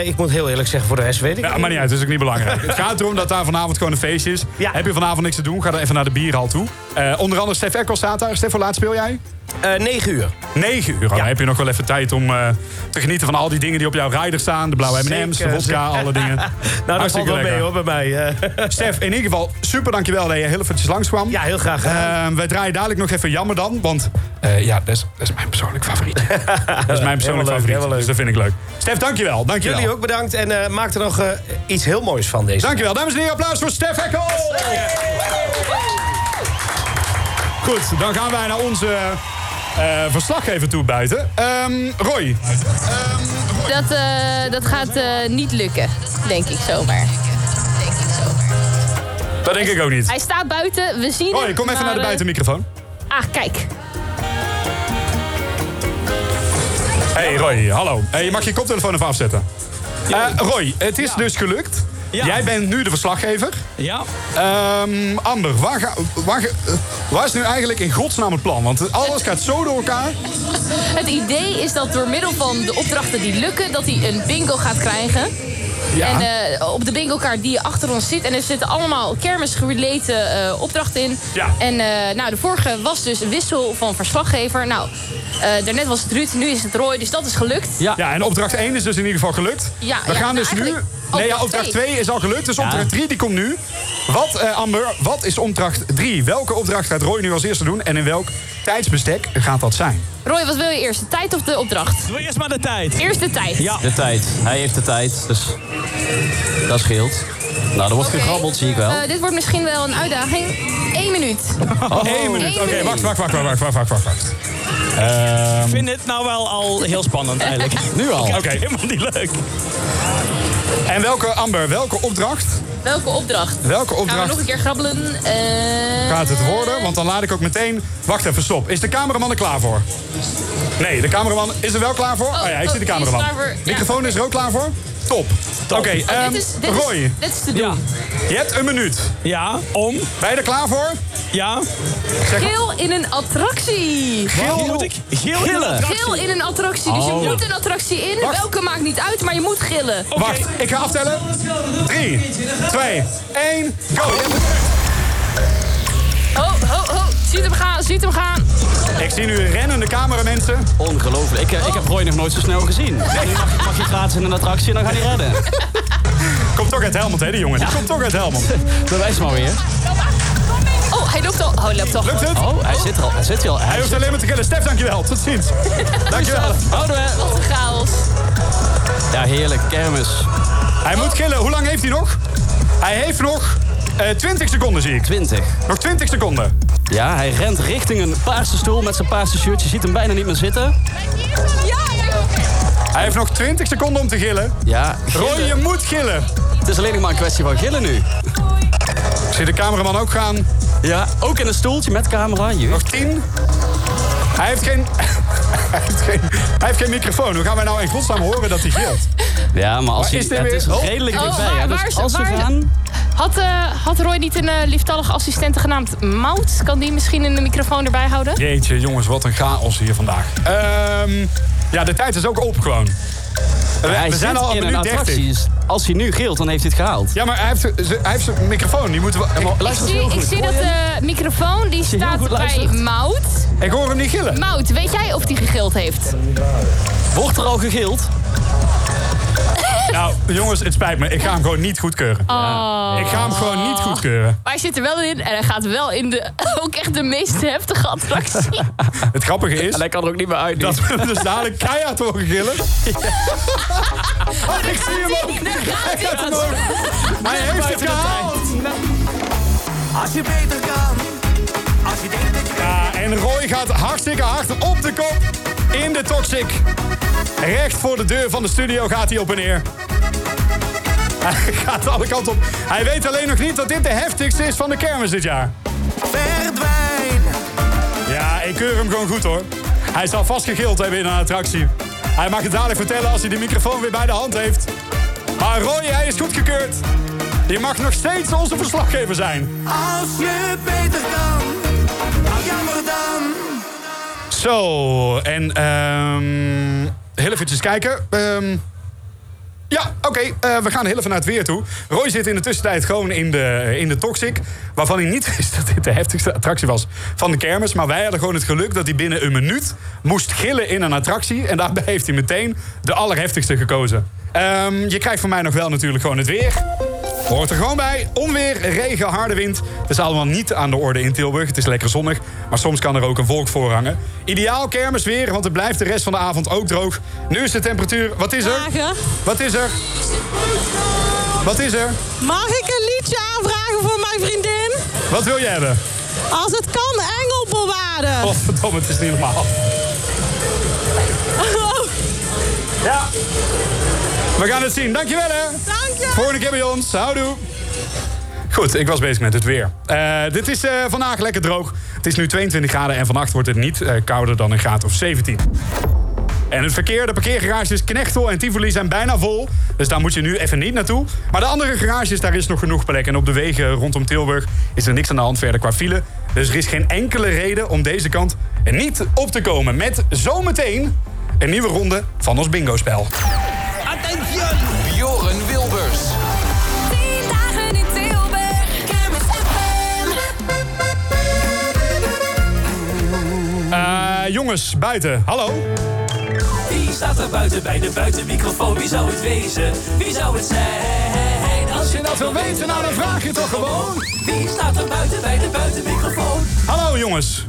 Speaker 11: ik moet heel eerlijk zeggen, voor de rest weet ik
Speaker 4: Ja, maar niet uit, dat is ook niet belangrijk. het gaat erom dat daar vanavond gewoon een feestje is. Heb je vanavond niks te doen, ga dan even naar de bierhal toe. Eh, onder andere Stef Ekkel staat daar. Stef, hoe laat speel jij?
Speaker 11: 9 Eh, uur. Nou,
Speaker 4: 9 uur, dan heb je nog wel even tijd om eh, te genieten van al die dingen die op jouw rijder staan. De blauwe M&M's, de
Speaker 11: Zeker,
Speaker 4: vodka,
Speaker 11: zeker.
Speaker 4: alle dingen.
Speaker 11: Nou, dat valt
Speaker 4: Hartstikke
Speaker 11: wel mee
Speaker 4: lekker.
Speaker 11: hoor, bij mij. eh.
Speaker 4: Stef, in ieder geval super dankjewel dat je heel eventjes langskwam. Ja,
Speaker 11: heel graag
Speaker 4: Ehm, wij draaien dadelijk nog even Jammer dan, want eh, ja, dat is, dat is mijn persoonlijk favorietje. dat is mijn
Speaker 11: Helemaal leuk,
Speaker 4: persoonlijk favorietje,
Speaker 11: helemaal leuk.
Speaker 4: dus dat vind ik leuk. Stef, dankjewel. dankjewel.
Speaker 11: Jullie ook bedankt en eh, maak er nog eh, iets heel moois van deze.
Speaker 4: Dankjewel. Dames en heren, applaus voor Stef Ekkel. Goed, dan gaan wij naar onze eh, verslaggever toe buiten. Ehm, Roy. Ehm,
Speaker 6: Dat, eh, dat gaat eh, niet lukken, denk ik zomaar.
Speaker 4: Dat denk ik ook niet.
Speaker 6: Hij staat buiten, we zien
Speaker 4: Roy,
Speaker 6: hem,
Speaker 4: kom even
Speaker 6: maar,
Speaker 4: naar de
Speaker 6: eh,
Speaker 4: buitenmicrofoon.
Speaker 6: Ah, kijk.
Speaker 4: Hey Roy, hallo. Hey, je mag je koptelefoon even afzetten. Eh, Roy, het is dus gelukt. Jij bent nu de verslaggever.
Speaker 7: Ja.
Speaker 4: Ehm, Amber, waar, ga, waar, ge- eh, waar is nu eigenlijk in godsnaam het plan? Want alles gaat zo door elkaar.
Speaker 6: Het idee is dat door middel van de opdrachten die lukken, dat hij een bingo gaat krijgen.
Speaker 4: Ja.
Speaker 6: En eh, op de bingo-kaart die achter ons zit. En er zitten allemaal kermisgerelateerde eh, opdrachten in. En eh, nou, de vorige was dus een wissel van verslaggever. Nou, eh, daarnet was het Ruud, nu is het Roy. Dus dat is gelukt.
Speaker 4: Ja. en opdracht 1 is dus in ieder geval gelukt.
Speaker 6: Ja,
Speaker 4: We
Speaker 6: ja,
Speaker 4: gaan
Speaker 6: nou,
Speaker 4: dus nu...
Speaker 6: eigenlijk
Speaker 4: Nee, ja,
Speaker 6: opdracht
Speaker 4: opdracht
Speaker 6: twee.
Speaker 4: 2 is al gelukt, dus opdracht 3 die komt nu. Wat, eh, Amber, wat is opdracht 3? Welke opdracht gaat Roy nu als eerste doen? En in welk tijdsbestek gaat dat zijn?
Speaker 6: Roy, wat wil je eerst? De tijd of de opdracht?
Speaker 7: Doe eerst maar de tijd.
Speaker 4: Ehm.
Speaker 6: Eerst de tijd.
Speaker 5: De tijd. Hij heeft de tijd, dus dat scheelt. Nou, er wordt gegrabbeld, zie ik wel.
Speaker 6: Eh, dit wordt misschien wel een uitdaging. Eén minuut.
Speaker 5: Oh.
Speaker 4: Eén minuut. Oké,
Speaker 6: minuut.
Speaker 4: wacht, wacht, wacht, wacht, wacht, wacht, wacht, wacht, wacht.
Speaker 7: Ik vind het nou wel al heel spannend eigenlijk.
Speaker 5: Nu al?
Speaker 7: Oké.
Speaker 4: Oké.
Speaker 7: Helemaal niet leuk.
Speaker 4: En welke, Amber, welke opdracht?
Speaker 6: Welke opdracht?
Speaker 4: Welke
Speaker 6: Gaan we nog
Speaker 4: opdracht
Speaker 6: een keer grabbelen? Eh,
Speaker 4: gaat het worden? Want dan laat ik ook meteen... Wacht even, stop. Is de cameraman er klaar voor? Nee, de cameraman is er wel klaar voor? Oh, ja, ik
Speaker 6: oh,
Speaker 4: zie de
Speaker 6: die is
Speaker 4: cameraman.
Speaker 6: klaar voor- ja.
Speaker 4: Microfoon is er ook klaar voor? Top. Oké,
Speaker 6: oh,
Speaker 4: ehm,
Speaker 6: dit is- dit is-
Speaker 4: Roy.
Speaker 6: Dit is te doen.
Speaker 4: Je hebt een minuut.
Speaker 7: Ja, om.
Speaker 4: Ben je er klaar voor?
Speaker 7: Ja.
Speaker 6: Geel in een attractie.
Speaker 7: Geel
Speaker 5: Oh,
Speaker 7: moet ik. Geel in de attractie.
Speaker 6: Geel in een attractie. Dus je
Speaker 7: Oh.
Speaker 6: moet een attractie in.
Speaker 4: Wacht.
Speaker 6: Welke maakt niet uit, maar je moet gillen.
Speaker 4: Wacht, ik ga aftellen. 3, 2, 1, go!
Speaker 6: Ho, ho, ho. Oh, Ziet hem gaan, ziet hem gaan.
Speaker 4: Ik zie nu rennende cameramensen.
Speaker 5: Ongelooflijk. Ik, eh, ik heb Roy nog nooit zo snel gezien. En nu mag, mag je plaatsen in een attractie en dan gaan die redden.
Speaker 4: Komt toch uit Helmond, hè, die jongen? Die komt toch uit Helmond.
Speaker 5: Bewijs maar weer.
Speaker 6: Oh, hij loopt al. Oh, hij loopt al.
Speaker 4: Lukt het?
Speaker 5: Oh, hij zit er al. Hij zit er al.
Speaker 4: Hij hoeft alleen maar te gillen. Stef, dankjewel. Tot ziens. Dankjewel.
Speaker 5: Houden we.
Speaker 6: Wat een chaos.
Speaker 5: Ja, heerlijk. Kermis.
Speaker 4: Hij moet gillen. Hoe lang heeft hij nog? Hij heeft nog eh 20 seconden, zie ik.
Speaker 5: 20.
Speaker 4: Nog 20 seconden.
Speaker 5: Ja, hij rent richting een paarse stoel met zijn paarse shirt. Je ziet hem bijna niet meer zitten.
Speaker 4: Hij heeft nog 20 seconden om te gillen.
Speaker 5: Ja,
Speaker 4: Roy, je moet gillen.
Speaker 5: het is alleen nog maar een kwestie van gillen nu.
Speaker 4: Ik zie de cameraman ook gaan.
Speaker 5: Ja, ook in een stoeltje met camera. Jeugd.
Speaker 4: Nog 10. Hij heeft geen... Hij heeft geen, hij heeft geen microfoon. Hoe gaan wij nou in godsnaam horen dat hij gilt?
Speaker 5: Ja, maar als
Speaker 4: Maar
Speaker 5: hij,
Speaker 4: is dit
Speaker 5: ja, het
Speaker 4: weer-
Speaker 5: is
Speaker 4: Oh.
Speaker 5: redelijk
Speaker 6: Oh,
Speaker 5: dichtbij. hè. Dus
Speaker 6: waar- waar is-
Speaker 5: als we
Speaker 6: waar-
Speaker 5: gaan...
Speaker 6: Had, eh, had Roy niet een eh, lieftallige assistente genaamd Mout? Kan die misschien in de microfoon erbij houden?
Speaker 4: Jeetje, jongens, wat een chaos hier vandaag. Ehm, ja, de tijd is ook op gewoon. We,
Speaker 5: Hij
Speaker 4: we zijn
Speaker 5: zit
Speaker 4: al
Speaker 5: in
Speaker 4: een
Speaker 5: een
Speaker 4: minuut 30.
Speaker 5: attractie. Als hij nu gilt, dan heeft hij het gehaald.
Speaker 4: Ja, maar hij heeft, ze- hij heeft zijn microfoon. Die moeten we, ik,
Speaker 6: Ik zie, ik zie dat de microfoon die
Speaker 5: heel
Speaker 6: staat
Speaker 5: goed
Speaker 6: bij
Speaker 5: luistert.
Speaker 6: Mout.
Speaker 4: ik hoor hem niet gillen.
Speaker 6: Mout, weet jij of die gegild heeft?
Speaker 5: Wordt er al gegild?
Speaker 4: Nou, jongens, het spijt me. Ik ga hem gewoon niet goedkeuren. Ik ga hem gewoon niet goedkeuren.
Speaker 6: Maar hij zit er wel in en hij gaat wel in de ook echt de meest heftige attractie.
Speaker 4: Het grappige is
Speaker 5: En hij kan er ook niet meer uit. nu.
Speaker 4: dat we hem dus dadelijk keihard horen gillen. Oh, ik zie hem ook. Hij gaat hem ook. Hij heeft het gehaald.
Speaker 10: Als je beter kan, als je denkt dat je...
Speaker 4: Ja, en Roy gaat hartstikke hard op de kop in de toxic. Recht voor de deur van de studio gaat hij op en neer. Hij gaat alle kanten op. Hij weet alleen nog niet dat dit de heftigste is van de kermis dit jaar.
Speaker 10: Verdwijn.
Speaker 4: Ja, ik keur hem gewoon goed hoor. Hij zal vast gegild hebben in een attractie. Hij mag het dadelijk vertellen als hij de microfoon weer bij de hand heeft. Maar Roy, hij is goedgekeurd. Je mag nog steeds onze verslaggever zijn.
Speaker 10: Als je beter kan, hou jammer dan.
Speaker 4: Zo, en ehm heel eventjes kijken. Ehm, ja, oké, eh, we gaan heel even naar het weer toe. Roy zit in de tussentijd gewoon in de, eh, in de Toxic. Waarvan hij niet wist dat dit de heftigste attractie was van de kermis. Maar wij hadden gewoon het geluk dat hij binnen een minuut moest gillen in een attractie. En daarbij heeft hij meteen de allerheftigste gekozen. Ehm, je krijgt van mij nog wel natuurlijk gewoon het weer. Hoort er gewoon bij. Onweer, regen, harde wind. Het is allemaal niet aan de orde in Tilburg. Het is lekker zonnig, maar soms kan er ook een wolk voorhangen. Ideaal kermisweer, want het blijft de rest van de avond ook droog. Nu is de temperatuur... Wat is er? Wat is er? Wat is er?
Speaker 12: Mag ik een liedje aanvragen voor mijn vriendin?
Speaker 4: Wat wil je hebben?
Speaker 12: Als het kan, engelbewaarden.
Speaker 4: Oh, verdomme, het is niet normaal. Ja. We gaan het zien. Dankjewel, hè. Dankjewel. Volgende keer bij ons. Houdoe. Goed, ik was bezig met het weer. Eh, dit is eh, vandaag lekker droog. Het is nu 22 graden en vannacht wordt het niet eh, kouder dan een graad of 17. En het verkeer, de parkeergarages Knechtel en Tivoli zijn bijna vol. Dus daar moet je nu even niet naartoe. Maar de andere garages, daar is nog genoeg plek. En op de wegen rondom Tilburg is er niks aan de hand verder qua file. Dus er is geen enkele reden om deze kant niet op te komen. Met zometeen een nieuwe ronde van ons bingo-spel.
Speaker 10: Attention.
Speaker 2: Bjorn Wilbers.
Speaker 10: Tien dagen in Tilburg, kermis FM.
Speaker 4: Eh, jongens, buiten. Hallo.
Speaker 13: Wie staat er buiten bij de buitenmicrofoon? Wie zou het wezen? Wie zou het zijn? Als je dat wil weten, nou dan vraag je toch gewoon. Wie staat er buiten bij de buitenmicrofoon?
Speaker 4: Hallo jongens.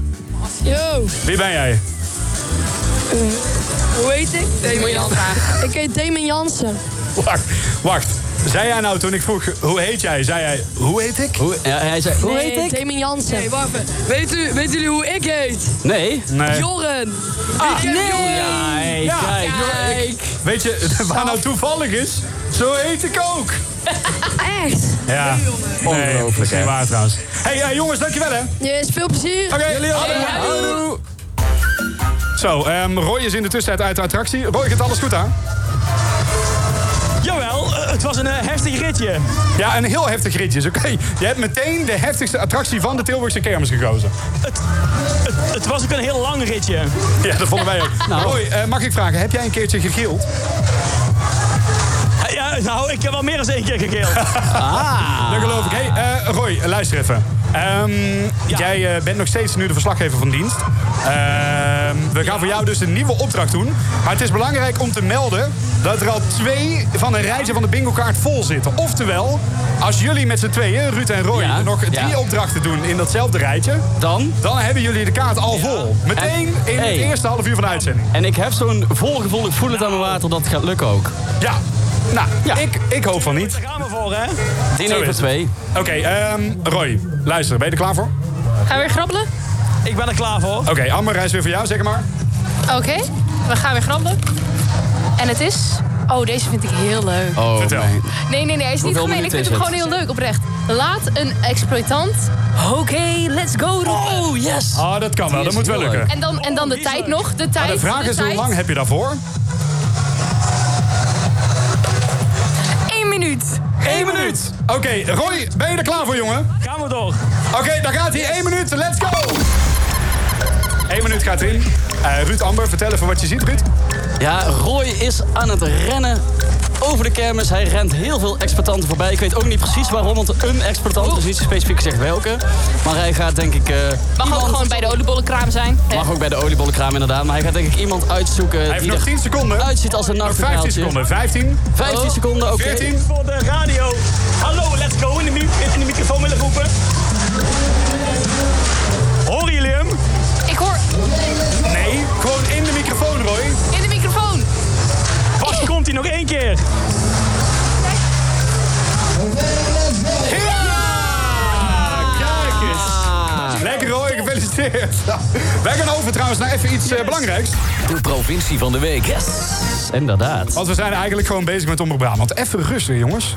Speaker 14: Yo,
Speaker 4: Wie ben jij?
Speaker 14: hoe heet ik?
Speaker 6: Damien Jansen.
Speaker 14: Ik heet Damien Jansen.
Speaker 4: Wacht, wacht. Zei jij nou toen ik vroeg, hoe heet jij? Zei jij, hoe heet ik?
Speaker 5: ja, hij zei,
Speaker 14: Nee, Damien Jansen. Nee, wacht Weet u, weten jullie hoe ik heet?
Speaker 5: Nee.
Speaker 14: Jorren. ik heet Jorren.
Speaker 5: Kijk, kijk.
Speaker 4: Weet je, waar nou toevallig is, zo heet ik ook.
Speaker 14: Echt?
Speaker 4: Ja, ongelooflijk. Nee, is niet waar trouwens. hey, eh, jongens, dankjewel hè.
Speaker 14: Yes, veel plezier. Oké,
Speaker 4: jullie ook. Zo, ehm, Roy is in de tussentijd uit de attractie. Roy, gaat alles goed aan?
Speaker 7: Jawel, eh, het was een eh, heftig ritje.
Speaker 4: Ja, een heel heftig ritje. is Oké, je hebt meteen de heftigste attractie van de Tilburgse kermis gekozen.
Speaker 7: Het, het was ook een heel lang ritje.
Speaker 4: Ja, dat vonden wij ook.
Speaker 7: Nou.
Speaker 4: Roy, eh, mag ik vragen, heb jij een keertje gegild?
Speaker 7: Eh, Ja, nou, ik heb wel meer dan één keer gekeeld.
Speaker 5: Ah.
Speaker 4: Dat geloof ik. Hey, eh, Roy, luister even. Ehm, Jij eh, bent nog steeds nu de verslaggever van dienst. Ehm, we gaan voor jou dus een nieuwe opdracht doen. Maar het is belangrijk om te melden dat er al twee van de rijtje van de bingo-kaart vol zitten. Oftewel, als jullie met z'n tweeën, Ruud en Roy, nog drie opdrachten doen in datzelfde rijtje...
Speaker 5: Dan?
Speaker 4: Dan hebben jullie de kaart al vol. Meteen in
Speaker 5: En-
Speaker 4: het
Speaker 5: hey.
Speaker 4: eerste half uur van de uitzending.
Speaker 5: En ik heb zo'n volgevoel, ik voel het aan mijn water dat het gaat lukken ook.
Speaker 4: Ja, nou, Ik, ik hoop van niet.
Speaker 7: Gaan we voor, hè?
Speaker 5: Tien
Speaker 4: Zo
Speaker 5: even
Speaker 4: is het.
Speaker 5: twee.
Speaker 4: Oké, ehm, Roy, luister, ben je er klaar voor?
Speaker 6: Gaan we weer grabbelen?
Speaker 7: Ik ben er klaar voor.
Speaker 4: Oké, Amber, hij is weer voor jou, zeg maar.
Speaker 6: Oké, we gaan weer grabbelen. En het is... Oh, deze vind ik heel leuk.
Speaker 5: Oh,
Speaker 4: Vertel.
Speaker 6: Nee, nee, nee, hij is niet
Speaker 5: Hoeveel
Speaker 6: gemeen. Ik
Speaker 5: minuten
Speaker 6: vind hem
Speaker 5: is
Speaker 6: gewoon heel leuk, oprecht. Laat een exploitant... Oké, let's go roepen. Oh, yes.
Speaker 4: Ah, dat kan wel, dat moet wel lukken.
Speaker 6: En dan, en dan de tijd nog. De tijd.
Speaker 4: Maar de vraag is, hoe
Speaker 6: tijd.
Speaker 4: lang heb je daarvoor?
Speaker 6: Eén minuut.
Speaker 4: Eén minuut. Oké, Roy, ben je er klaar voor, jongen?
Speaker 7: Gaan we door.
Speaker 4: Oké, daar gaat hij. Eén minuut, let's go! Eén minuut gaat erin. Eh, Ruud Amber, vertel even wat je ziet, Ruud.
Speaker 5: Ja, Roy is aan het rennen over de kermis. Hij rent heel veel exploitanten voorbij. Ik weet ook niet precies waarom, want een exploitant is niet zo specifiek gezegd welke. Maar hij gaat denk ik... eh,
Speaker 6: Mag ook gewoon bij de oliebollenkraam zijn. Eh,
Speaker 5: mag ook bij de oliebollenkraam inderdaad. Maar hij gaat denk ik iemand uitzoeken
Speaker 4: Hij heeft
Speaker 5: die
Speaker 4: nog
Speaker 5: er
Speaker 4: 10 seconden.
Speaker 5: uitziet als een
Speaker 4: Nog
Speaker 5: nachtegaaltje.
Speaker 4: 15 seconden. Oh, 15.
Speaker 5: 15 seconden, oké.
Speaker 4: 14.
Speaker 7: Voor de radio. Hallo, let's go. In de, mi- in de microfoon willen roepen. Horen jullie hem?
Speaker 6: Ik hoor
Speaker 4: Nee, gewoon in de microfoon, Roy.
Speaker 6: in de microfoon.
Speaker 7: Pas komt hij nog één keer.
Speaker 4: Ah, Kijk
Speaker 5: Ah.
Speaker 4: eens. Lekker, Roy. Gefeliciteerd. Wij gaan over trouwens naar even iets eh, belangrijks.
Speaker 2: De provincie van de week.
Speaker 5: inderdaad.
Speaker 7: Oh.
Speaker 4: Want we zijn eigenlijk gewoon bezig met Omroep Brabant. Even rustig, jongens.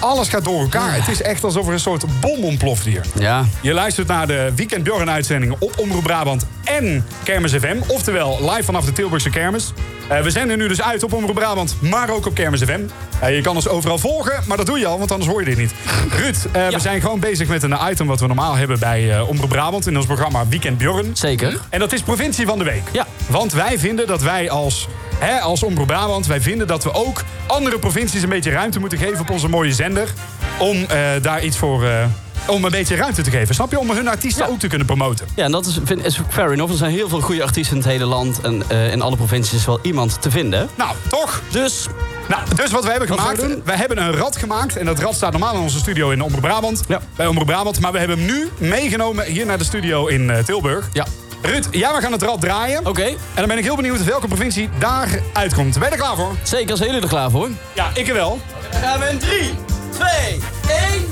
Speaker 4: Alles gaat door elkaar. Het is echt alsof er een soort bom ontploft hier.
Speaker 5: Ja.
Speaker 4: Je luistert naar de Weekend Bjorn uitzendingen op Omroep Brabant en Kermis FM. Oftewel, live vanaf de Tilburgse Kermis. Eh, we zenden nu dus uit op Omroep Brabant, maar ook op Kermis FM. Eh, je kan ons overal volgen, maar dat doe je al, want anders hoor je dit niet. Ruud, eh, we zijn gewoon bezig met een item wat we normaal hebben bij eh Omroep Brabant... in ons programma Weekend Bjorn.
Speaker 5: Zeker.
Speaker 4: En dat is provincie van de week. Ja. Want wij vinden dat wij als, hè, als Omroep Brabant... wij vinden dat we ook andere provincies een beetje ruimte moeten geven... op onze mooie zender, om eh, daar iets voor... eh, om een beetje ruimte te geven, snap je? Om hun artiesten ook te kunnen promoten.
Speaker 5: Ja, en dat is, vind, is fair enough. Er zijn heel veel goede artiesten in het hele land. En eh, in alle provincies is wel iemand te vinden.
Speaker 4: Nou, toch?
Speaker 5: Dus...
Speaker 4: Nou, dus wat we hebben
Speaker 5: Wat
Speaker 4: gemaakt,
Speaker 5: gaan we
Speaker 4: we hebben een rad gemaakt. En dat rad staat normaal in onze studio in Omroep Brabant. Bij Omroep Brabant. Maar we hebben hem nu meegenomen hier naar de studio in eh, Tilburg. Ja. Ruud, ja, we gaan het rad draaien.
Speaker 5: Oh.
Speaker 4: Oké. En dan ben ik heel benieuwd welke provincie daar uitkomt. Ben je er klaar voor?
Speaker 5: Zeker, zijn jullie er klaar voor?
Speaker 4: Ja, ik er wel.
Speaker 7: Gaan we in 3, 2, 1.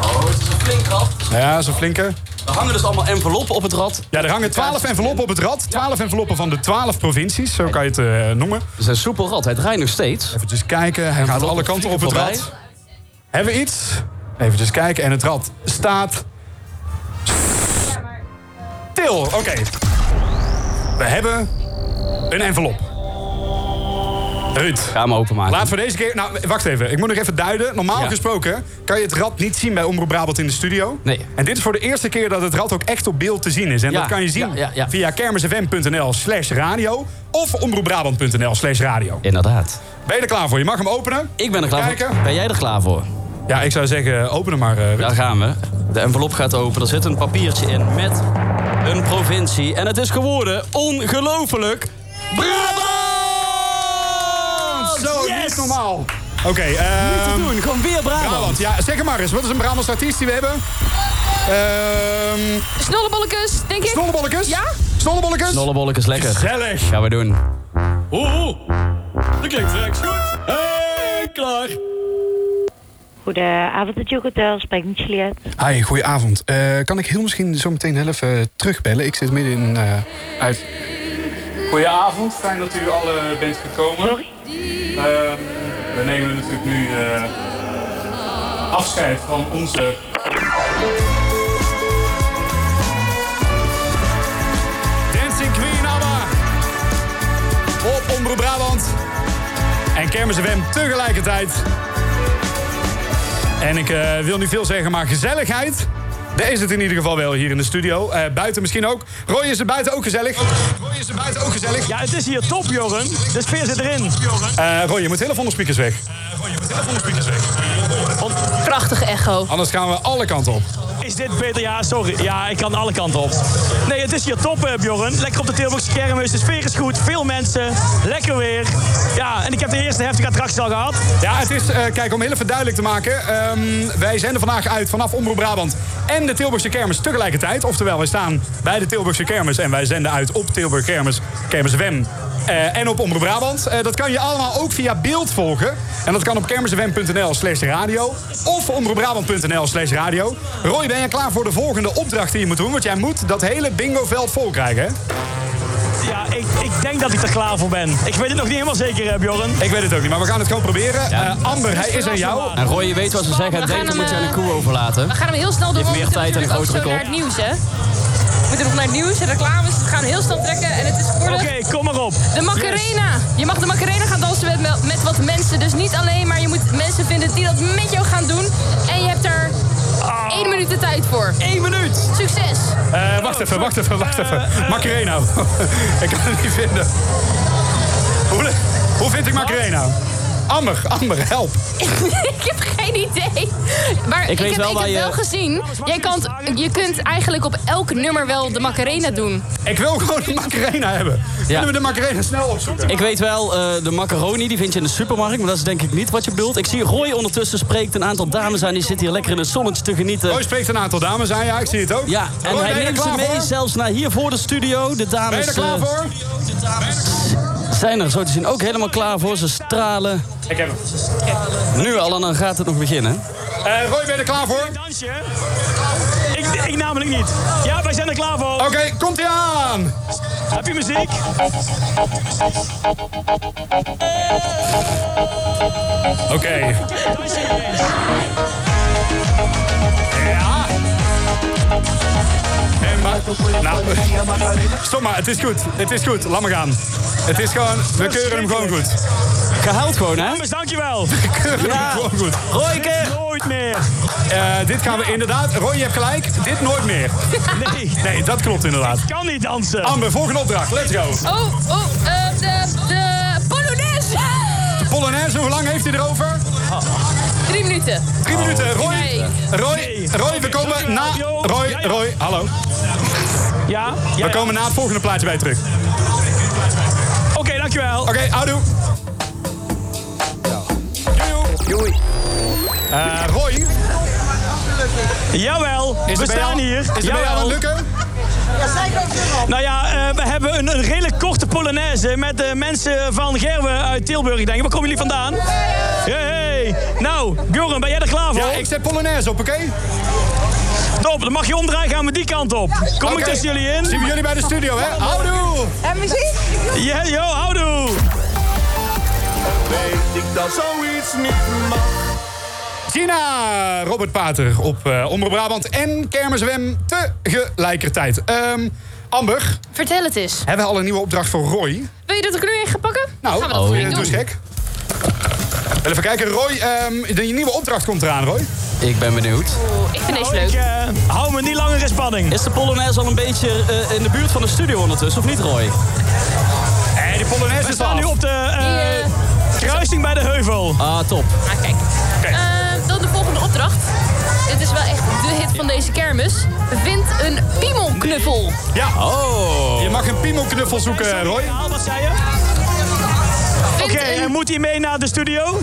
Speaker 7: Oh, het is een flink rad.
Speaker 4: Ja, dat is een flinke.
Speaker 5: Er hangen dus allemaal enveloppen op het rad.
Speaker 4: Ja, er hangen 12 enveloppen op het rad. 12 enveloppen van de 12 provincies, zo kan je het eh, noemen.
Speaker 5: Het is een soepel rad, hij draait nog steeds.
Speaker 4: Even kijken, hij gaat alle kanten op het rad. Hebben we iets? Even kijken, en het rad staat. Til, oké. We hebben een envelop. Ruud. Ga
Speaker 5: hem openmaken.
Speaker 4: Laat voor deze keer. Nou, wacht even. Ik moet nog even duiden. Normaal
Speaker 5: Ja.
Speaker 4: gesproken kan je het rad niet zien bij Omroep Brabant in de studio.
Speaker 5: Nee.
Speaker 4: En dit is voor de eerste keer dat het rad ook echt op beeld te zien is. En
Speaker 5: Ja,
Speaker 4: dat kan je zien
Speaker 5: ja, ja, ja.
Speaker 4: via kermisfm.nl slash radio of omroepbrabant.nl slash radio.
Speaker 5: Inderdaad.
Speaker 4: Ben je er klaar voor? Je mag hem openen.
Speaker 5: Ik ben er klaar
Speaker 4: Kijken.
Speaker 5: voor. Ben jij er klaar voor?
Speaker 4: Ja, ik zou zeggen, open hem maar. eh,
Speaker 5: Daar gaan we. De envelop gaat open. Er zit een papiertje in met een provincie. En het is geworden ongelooflijk Brabant!
Speaker 4: Oh, Zo, niet normaal. Oké, eh.
Speaker 5: Niet te doen, gewoon weer Brabant.
Speaker 4: Ja, zeg het maar eens. Wat is een Brabants artiest die we hebben? Ehm
Speaker 6: Snollebollekes, denk ik.
Speaker 4: Snollebollekes? Ja? Snollebollekes?
Speaker 5: Snollebollek is lekker.
Speaker 4: Gezellig.
Speaker 5: Gaan we doen.
Speaker 7: Oeh, dat klinkt rechts goed. Hey, klaar.
Speaker 15: Goedenavond, het Jokertel. Spreek met Juliette.
Speaker 4: Hi, goedenavond. Eh kan ik heel misschien zo meteen heel even eh, terugbellen? Ik zit midden in... eh uit. Goedenavond, fijn dat u alle bent gekomen. Ehm, we nemen natuurlijk nu eh, afscheid van onze... Dancing Queen ABBA op Omroep Brabant en Kermis FM tegelijkertijd. En ik eh, wil niet veel zeggen, maar gezelligheid. Daar is het in ieder geval wel hier in de studio. Eh, buiten misschien ook. Roy, is het buiten ook gezellig? Roy, is het buiten ook gezellig?
Speaker 7: Ja, het is hier top, Joren. De sfeer zit erin.
Speaker 4: Eh, Roy, je moet heel even onder speakers weg.
Speaker 6: Prachtige echo.
Speaker 4: Anders gaan we alle kanten op.
Speaker 7: Is dit beter? Ja, sorry. Ja, ik kan alle kanten op. Nee, het is hier top, eh, Bjorn. Lekker op de Tilburgse kermis. De sfeer is goed. Veel mensen. Lekker weer. Ja, en ik heb de eerste heftige attractie al gehad.
Speaker 4: Ja, het is, eh, kijk, om heel even duidelijk te maken. ehm, wij zenden vandaag uit vanaf Omroep Brabant en de Tilburgse Kermis tegelijkertijd. Oftewel, wij staan bij de Tilburgse Kermis en wij zenden uit op Tilburg Kermis, Kermis Wem. eh, en op Omroep Brabant. Eh, dat kan je allemaal ook via beeld volgen. En dat kan op kermisfm.nl slash radio. Of omroepbrabant.nl slash radio. Roy, ben je klaar voor de volgende opdracht die je moet doen? Want jij moet dat hele bingoveld vol krijgen, hè?
Speaker 7: Ja, ik, ik denk dat ik er klaar voor ben. Ik weet het nog niet helemaal zeker, eh, Bjorn.
Speaker 4: Ik weet het ook niet, maar we gaan het gewoon proberen. Eh, Amber, hij is aan jou.
Speaker 5: En Roy, je weet wat ze zeggen.
Speaker 6: gaan
Speaker 5: Denk, dan moet je
Speaker 6: hem, eh,
Speaker 5: aan de koe overlaten.
Speaker 6: We gaan hem heel snel
Speaker 5: Je
Speaker 6: doen,
Speaker 5: hebt meer
Speaker 6: want we moeten
Speaker 5: tijd en een
Speaker 6: natuurlijk ook
Speaker 5: grotere
Speaker 6: zo naar
Speaker 5: kop.
Speaker 6: het nieuws, hè. We moeten nog naar het nieuws en reclames. We gaan heel snel trekken en het is voor de... Oké,
Speaker 7: kom maar op.
Speaker 6: De Macarena. Je mag de Macarena gaan dansen met, met wat mensen. Dus niet alleen, maar je moet mensen vinden die dat met jou gaan doen. En je hebt er
Speaker 4: Ah.
Speaker 6: één minuut de tijd voor.
Speaker 7: Eén minuut.
Speaker 6: Succes.
Speaker 4: Eh, wacht even, wacht even, wacht even.
Speaker 7: Eh,
Speaker 4: Macarena. ik kan het niet vinden. Hoe, hoe vind ik Macarena? Amber, Amber, help.
Speaker 6: ik heb geen idee. Maar ik,
Speaker 4: Ik weet
Speaker 6: heb,
Speaker 4: wel
Speaker 6: ik
Speaker 4: waar
Speaker 6: heb
Speaker 4: je-
Speaker 6: wel gezien. Jij kan, je kunt eigenlijk op elk nummer wel de Macarena doen.
Speaker 4: Ik wil gewoon de Macarena hebben. Kunnen we de Macarena snel opzoeken?
Speaker 5: Ik weet wel, eh, de macaroni die vind je in de supermarkt, maar dat is denk ik niet wat je bedoelt. Ik zie Roy ondertussen spreekt een aantal dames aan, die zit hier lekker in het zonnetje te genieten.
Speaker 4: Roy spreekt een aantal dames aan, ja, ik zie het ook.
Speaker 5: Ja, en
Speaker 4: Roy, ben je
Speaker 5: hij
Speaker 4: er
Speaker 5: neemt ze
Speaker 4: klaar
Speaker 5: mee
Speaker 4: voor?
Speaker 5: zelfs naar hier voor de studio. De dames
Speaker 4: Ben je er klaar
Speaker 5: eh,
Speaker 4: voor?
Speaker 5: zijn er zo te zien ook helemaal klaar voor. Ze stralen
Speaker 4: Ik heb hem.
Speaker 5: nu al en dan gaat het nog beginnen.
Speaker 4: Eh, Roy, ben je er klaar voor?
Speaker 7: Ik, ik namelijk niet. Ja, wij zijn er klaar voor. Oké,
Speaker 4: komt ie aan.
Speaker 7: Heb je muziek?
Speaker 4: Oké. Ja. En maar, nou, stop maar, het is goed. Het is goed, laat maar gaan. Het is gewoon, we keuren hem gewoon goed.
Speaker 5: Gehaald gewoon, hè?
Speaker 7: Dames, dankjewel.
Speaker 4: We keuren hem gewoon goed. Eh,
Speaker 5: Royke!
Speaker 7: Nooit meer.
Speaker 4: dit gaan we inderdaad, Roy, je hebt gelijk, dit nooit meer.
Speaker 7: Nee.
Speaker 4: Nee, dat klopt inderdaad.
Speaker 7: kan niet dansen.
Speaker 4: Amber, volgende opdracht, let's go.
Speaker 6: Oh, oh, eh, de, de Polonaise.
Speaker 4: De Polonaise, hoe lang heeft hij erover?
Speaker 6: Ah! Drie minuten. Oh,
Speaker 4: Drie minuten, Roy.
Speaker 6: Nee.
Speaker 4: Roy, Roy, we komen na... Roy, Roy, hallo.
Speaker 7: Ja?
Speaker 4: We komen na het volgende plaatje bij je terug.
Speaker 7: Oké, dankjewel.
Speaker 4: Oké, houdoe. Doei. Eh, Roy?
Speaker 7: Jawel,
Speaker 4: Is
Speaker 7: we
Speaker 4: het bij
Speaker 7: staan
Speaker 4: jou-
Speaker 7: hier.
Speaker 4: is het bij jou
Speaker 7: Jawel.
Speaker 4: aan het lukken?
Speaker 7: Nou ja, eh, we hebben een, een redelijk korte polonaise met de mensen van Gerwe uit Tilburg, denk ik. Waar komen jullie vandaan? Hey, Nou, Bjorn, ben jij er klaar voor? Ja, ik
Speaker 4: Eh, zet polonaise op, oké?
Speaker 7: Top, dan mag je omdraaien, gaan we die kant op. Kom ik
Speaker 4: Oké.
Speaker 7: tussen jullie in?
Speaker 4: Zien we jullie bij de studio, hè? Houdoe!
Speaker 10: En muziek?
Speaker 7: Ja, yo, houdoe!
Speaker 10: Weet ik dat zoiets niet mag.
Speaker 4: Gina, Robert Pater op eh Omroep Brabant en Kermiswem tegelijkertijd. Ehm, Amber,
Speaker 6: Vertel het eens.
Speaker 4: hebben we al een nieuwe opdracht voor Roy?
Speaker 6: Wil je dat ik er nu in ga pakken?
Speaker 4: Nou,
Speaker 6: gaan we dat
Speaker 5: Oh,
Speaker 6: voor je
Speaker 4: doe
Speaker 6: doen.
Speaker 4: eens gek. Wel Even kijken, Roy, ehm, de nieuwe opdracht komt eraan, Roy.
Speaker 5: Ik ben benieuwd.
Speaker 6: Ik vind deze leuk.
Speaker 7: eh, hou me niet langer in spanning.
Speaker 5: Is de Polonaise al een beetje eh, in de buurt van de studio ondertussen, of niet, Roy?
Speaker 4: Hé, de Polonaise
Speaker 7: We staan nu op de eh, kruising bij de heuvel.
Speaker 5: Ah, top.
Speaker 6: Ah, kijk. Eh, dan de volgende opdracht. Dit is wel echt de hit van deze kermis. Vind een piemelknuffel.
Speaker 4: Ja.
Speaker 5: Oh.
Speaker 4: Je mag een piemelknuffel zoeken, Roy.
Speaker 7: Wat zei je? Oké, en moet hij mee naar de studio?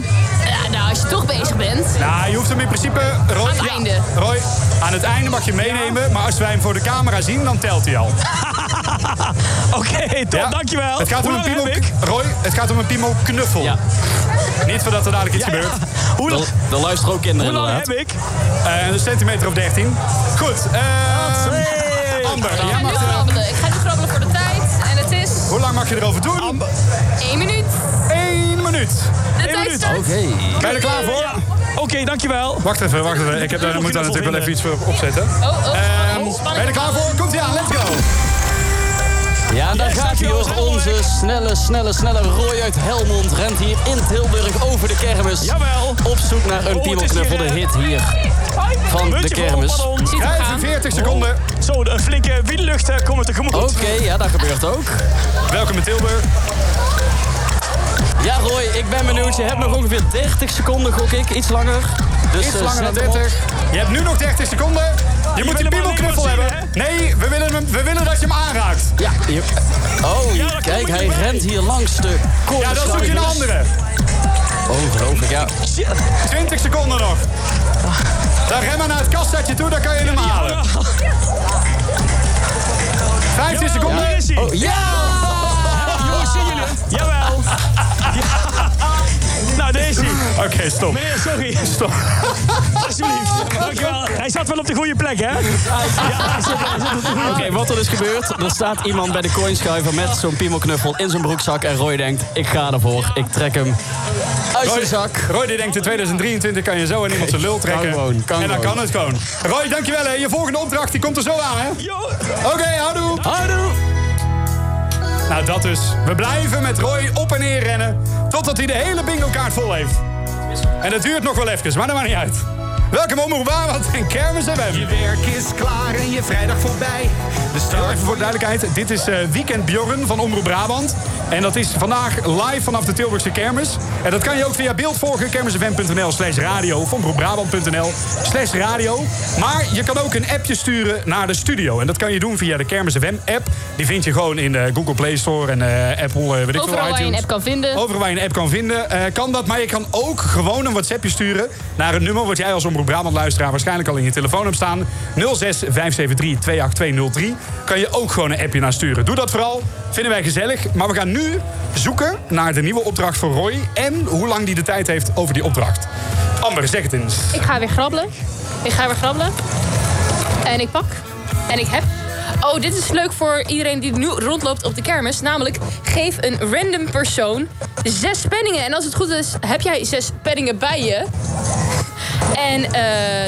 Speaker 6: Ja, nou, als je toch bezig bent.
Speaker 4: Nou, je hoeft hem in principe... Roy,
Speaker 6: Aan het einde.
Speaker 4: Roy, aan het einde mag je hem meenemen, maar als wij hem voor de camera zien, dan telt hij al.
Speaker 7: Oké, top, dankjewel.
Speaker 4: Het gaat om
Speaker 7: Hoe
Speaker 4: een
Speaker 7: lang
Speaker 4: piemel...
Speaker 7: heb ik?
Speaker 4: Roy, het gaat om een piemelknuffel. Niet voordat er dadelijk iets gebeurt.
Speaker 7: Hoe lang...
Speaker 5: Er luisteren ook kinderen,
Speaker 4: Hoe lang
Speaker 5: inderdaad.
Speaker 4: heb ik? een centimeter of 13. Goed, eh... Amber,
Speaker 6: Ik
Speaker 4: jij
Speaker 6: ga nu
Speaker 4: mag...
Speaker 6: grabbelen. Ik ga nu grabbelen voor de tijd. En het is
Speaker 4: Hoe lang mag je erover doen?
Speaker 6: één minuut.
Speaker 4: Eén minuut.
Speaker 6: De tijd start.
Speaker 4: Ben je er klaar voor?
Speaker 7: Eh, Oké, dankjewel.
Speaker 4: Wacht even, wacht even. Ik heb daar, moet daar natuurlijk wel even iets voor opzetten.
Speaker 6: Oh, oh, oh.
Speaker 4: Ben je er klaar voor? Komt ie aan, let's go!
Speaker 5: Ja, en daar gaat hij hoor. Onze snelle, snelle, snelle Roy uit Helmond rent hier in Tilburg over de kermis. Jawel. Op zoek
Speaker 4: Oh,
Speaker 5: naar een piemelknuffel, de hit hier van de
Speaker 7: Muntje vol,
Speaker 5: kermis.
Speaker 7: pardon.
Speaker 4: Vijf- 40 seconden.
Speaker 7: Zo, een flinke wiellucht eh, komen
Speaker 4: Oh.
Speaker 7: tegemoet.
Speaker 5: Oké, ja, dat gebeurt ook.
Speaker 4: Welkom in Tilburg.
Speaker 5: Ja, Roy, ik ben benieuwd. Je hebt nog ongeveer 30 seconden, gok ik. Iets langer. Dus,
Speaker 4: Iets
Speaker 5: eh,
Speaker 4: langer dan
Speaker 5: zet hem op.
Speaker 4: 30. Je hebt nu nog 30 seconden. Je, moet die piemelknuffel hebben. Nee, we willen, hem, we willen dat je hem aanraakt.
Speaker 5: Ja, je- Oh, kijk, hij rent hier langs de kop.
Speaker 4: Ja, dan zoek je een andere.
Speaker 5: Ongelooflijk, ja.
Speaker 4: 20 seconden nog. Dan ren maar naar het kastsetje toe, dan kan je hem halen. 15 seconden.
Speaker 7: Hier is hij.
Speaker 5: Oh, ja!
Speaker 7: Jongens, zien jullie het? Jawel. Ja. Nou, deze.
Speaker 4: Oké, stop.
Speaker 7: Meneer, sorry.
Speaker 4: Stop.
Speaker 7: Alsjeblieft. Dankjewel. Hij zat wel op de goede plek, hè?
Speaker 5: Oké, wat er dus gebeurt, er staat iemand bij de coinschuiver met zo'n piemelknuffel in zijn broekzak en Roy denkt, ik ga ervoor, ik trek hem uit
Speaker 4: Roy,
Speaker 5: zijn zak.
Speaker 4: Roy die denkt in 2023 kan je zo aan iemand zijn lul trekken.
Speaker 5: Kan gewoon, kan
Speaker 4: en dan
Speaker 5: gewoon.
Speaker 4: kan het gewoon. Roy, dankjewel hè. Je volgende opdracht die komt er zo aan hè. Oké, houdoe.
Speaker 5: Houdoe.
Speaker 4: Nou dat dus. We blijven met Roy op en neer rennen. Totdat hij de hele bingo kaart vol heeft. En dat duurt nog wel even, maar dat maakt niet uit. Welkom Omroep Brabant en Kermis FM.
Speaker 10: Je werk is klaar en je vrijdag voorbij.
Speaker 4: De start. Even voor de duidelijkheid, dit is eh, Weekend Bjorn van Omroep Brabant. En dat is vandaag live vanaf de Tilburgse kermis. En dat kan je ook via beeld volgen, kermisfm.nl slash radio... of omroepbrabant.nl slash radio. Maar je kan ook een appje sturen naar de studio. En dat kan je doen via de Kermis FM app. Die vind je gewoon in de Google Play Store en eh, Apple, eh, weet ik veel,
Speaker 6: Overal waar je een
Speaker 4: iTunes.
Speaker 6: app kan vinden.
Speaker 4: Overal waar je een app kan vinden, eh, kan dat. Maar je kan ook gewoon een WhatsAppje sturen naar een nummer wat jij als Omroep Brabant luisteraar waarschijnlijk al in je telefoon hebt staan. 06 573 28203. Kan je ook gewoon een appje naar sturen. Doe dat vooral. Vinden wij gezellig. Maar we gaan nu zoeken naar de nieuwe opdracht voor Roy. En hoe lang die de tijd heeft over die opdracht. Amber, zeg het eens.
Speaker 6: Ik ga weer grabbelen. Ik ga weer grabbelen. En ik pak. En ik heb. Oh, dit is leuk voor iedereen die nu rondloopt op de kermis. Namelijk, geef een random persoon zes penningen. En als het goed is, heb jij zes penningen bij je. En eh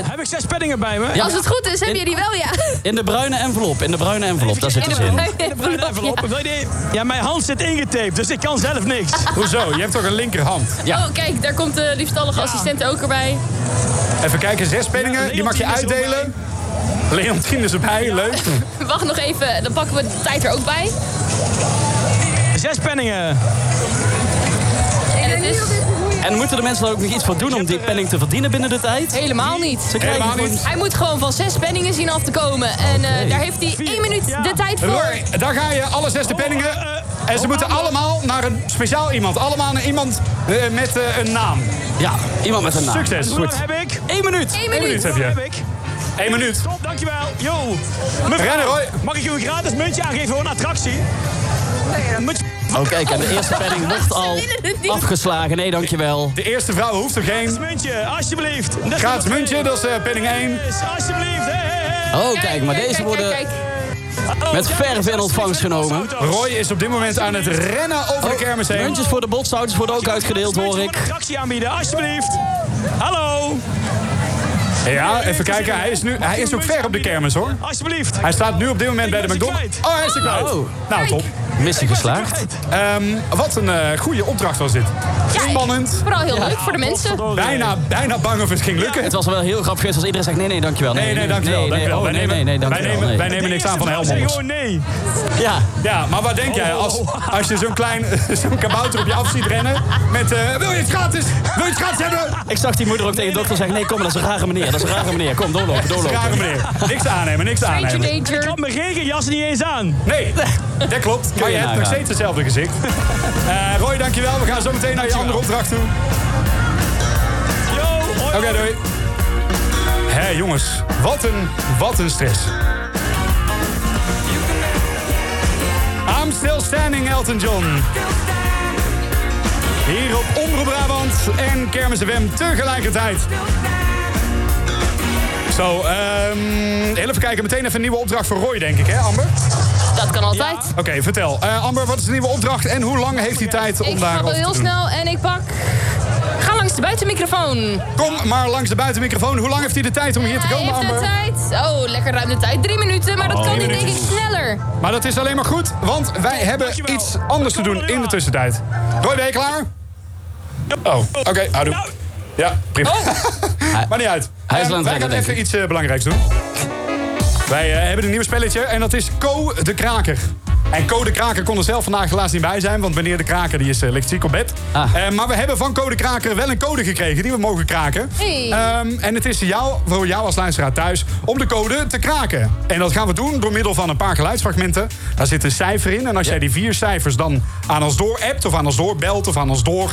Speaker 7: Heb ik zes penningen bij me?
Speaker 6: als het goed is, heb
Speaker 7: In-
Speaker 6: je die wel, ja.
Speaker 5: In de bruine envelop, in de bruine envelop, daar zit
Speaker 6: In
Speaker 5: het
Speaker 6: de
Speaker 5: in.
Speaker 6: bruine
Speaker 7: envelop.
Speaker 6: envelop,
Speaker 7: Wil je die- Ja, mijn hand zit ingetaped, dus ik kan zelf niks.
Speaker 4: Hoezo? Je hebt toch een linkerhand?
Speaker 6: Oh, kijk, daar komt de liefstallige assistent ook erbij.
Speaker 4: Even kijken, zes penningen, die mag je
Speaker 6: Leontien is er
Speaker 4: uitdelen. Leontien is erbij, leuk.
Speaker 6: Wacht nog even, dan pakken we de tijd er ook bij.
Speaker 7: Zes penningen.
Speaker 6: En het is...
Speaker 5: En moeten de mensen er ook nog iets voor doen om die penning te verdienen binnen de tijd?
Speaker 6: Helemaal niet.
Speaker 5: Ze krijgen gewoon-
Speaker 6: Hij moet gewoon van zes penningen zien af te komen. En eh, daar heeft hij één minuut de tijd voor.
Speaker 4: Roy, daar ga je, alle zes de penningen. En ze moeten allemaal naar een speciaal iemand. Allemaal naar iemand eh, met eh, een naam.
Speaker 5: Ja, iemand met een naam.
Speaker 4: Succes.
Speaker 5: En hoe lang
Speaker 4: Goed.
Speaker 7: Heb ik?
Speaker 5: Eén minuut.
Speaker 6: Eén
Speaker 4: Eén
Speaker 6: minuut.
Speaker 4: minuut heb je.
Speaker 7: ik.
Speaker 4: Eén minuut.
Speaker 7: Top, dankjewel. Yo.
Speaker 4: Rennen,
Speaker 7: Mevrouw,
Speaker 4: Roy.
Speaker 7: mag ik u een gratis muntje aangeven voor een attractie? Muntje.
Speaker 5: Oh, kijk, en de eerste penning wordt al afgeslagen. Nee, dankjewel.
Speaker 4: De eerste vrouw hoeft er geen.
Speaker 7: Muntje, alsjeblieft. Net
Speaker 4: Gaat het muntje, dat is eh, penning 1.
Speaker 7: is, Alsjeblieft. Hey, hey, hey. Oh,
Speaker 5: Oh, kijk, maar deze worden met verf in ontvangst genomen.
Speaker 4: Roy is op dit moment aan het rennen over de kermis heen.
Speaker 5: Oh, Muntjes voor de botshouders worden ook uitgedeeld, hoor ik.
Speaker 7: Attractie aanbieden, alsjeblieft. Hallo.
Speaker 4: Ja, even kijken. Hij is, nu, hij is ook ver op de kermis hoor.
Speaker 7: Alsjeblieft.
Speaker 4: Hij staat nu op dit moment bij de McDonald's. Oh, hij is er kwijt. Nou, top.
Speaker 5: Missie geslaagd.
Speaker 4: Ehm, wat een eh, goede opdracht was dit.
Speaker 6: Ja,
Speaker 4: Spannend.
Speaker 6: Vooral heel leuk voor de mensen.
Speaker 4: Bijna, bijna bang of het ging lukken.
Speaker 5: Het was wel heel grappig geweest als iedereen zegt nee, nee, dankjewel.
Speaker 4: Nee, nee, dankjewel.
Speaker 5: nee, nee,
Speaker 4: dankjewel.
Speaker 5: oh,
Speaker 4: wij,
Speaker 5: nee,
Speaker 4: nemen,
Speaker 5: nee, nee, dankjewel.
Speaker 4: wij, nemen,
Speaker 5: nee.
Speaker 4: wij nemen niks aan van
Speaker 7: Zeg
Speaker 4: Helmonders.
Speaker 7: gewoon nee.
Speaker 5: Ja,
Speaker 4: Ja, maar wat denk jij? Als, als je zo'n klein zo'n kabouter op je af ziet rennen met... eh, wil je het gratis? Wil je het gratis hebben?
Speaker 5: ik zag die moeder ook tegen de dokter zeggen, nee, kom, dat is een rare meneer, dat is een rare meneer. Kom, doorlopen, doorlopen.
Speaker 4: Rare meneer. Niks aannemen, niks
Speaker 6: Stranger
Speaker 4: aannemen.
Speaker 7: Ik
Speaker 6: danger.
Speaker 7: had mijn regenjas niet eens aan.
Speaker 4: Nee, dat klopt. Maar je hebt nog
Speaker 5: nagaan.
Speaker 4: steeds hetzelfde gezicht. Eh Roy, dankjewel. We gaan zo meteen naar je andere opdracht toe.
Speaker 7: Yo. hoi.
Speaker 4: Oké, doei. Hé jongens, wat een, wat een stress. I'm still standing, Elton John. Hier op Omroep Brabant en Kermis FM tegelijkertijd. Zo, ehm, heel even kijken. Meteen even een nieuwe opdracht voor Roy, denk ik, hè Amber?
Speaker 6: Dat kan altijd.
Speaker 4: Oké, vertel. Eh, Amber, wat is de nieuwe opdracht en hoe lang heeft hij tijd om
Speaker 6: Ik
Speaker 4: daar
Speaker 6: grabbel heel snel en ik pak... Ga langs de buitenmicrofoon.
Speaker 4: Kom maar langs de buitenmicrofoon. Hoe lang heeft hij de tijd om hier te
Speaker 6: Hij
Speaker 4: komen,
Speaker 6: heeft de
Speaker 4: Amber?
Speaker 6: tijd. Oh, lekker ruim de tijd. Oh, Drie minuten, maar dat kan niet, denk ik, sneller.
Speaker 4: Maar dat is alleen maar goed, want wij hebben iets anders te doen in de tussentijd. Roy, ben je klaar? Oh, oké, houdoe.
Speaker 7: Nou,
Speaker 4: Ja, prima. maar niet uit.
Speaker 5: Hij
Speaker 4: Ehm,
Speaker 5: is aan
Speaker 4: wij
Speaker 5: het rennen,
Speaker 4: gaan
Speaker 5: denk
Speaker 4: even
Speaker 5: ik.
Speaker 4: iets eh, belangrijks doen. Wij eh, hebben een nieuw spelletje en dat is Co de Kraker. En Co de Kraker kon er zelf vandaag helaas niet bij zijn, want meneer de Kraker die is eh, ligt ziek op bed.
Speaker 5: Ah.
Speaker 4: Eh, maar we hebben van Co de Kraker wel een code gekregen die we mogen kraken.
Speaker 6: Hey.
Speaker 4: Ehm, en het is jou, voor jou als luisteraar thuis om de code te kraken. En dat gaan we doen door middel van een paar geluidsfragmenten. Daar zit een cijfer in. En als jij die vier cijfers dan aan ons door appt, of aan ons door belt, of aan ons door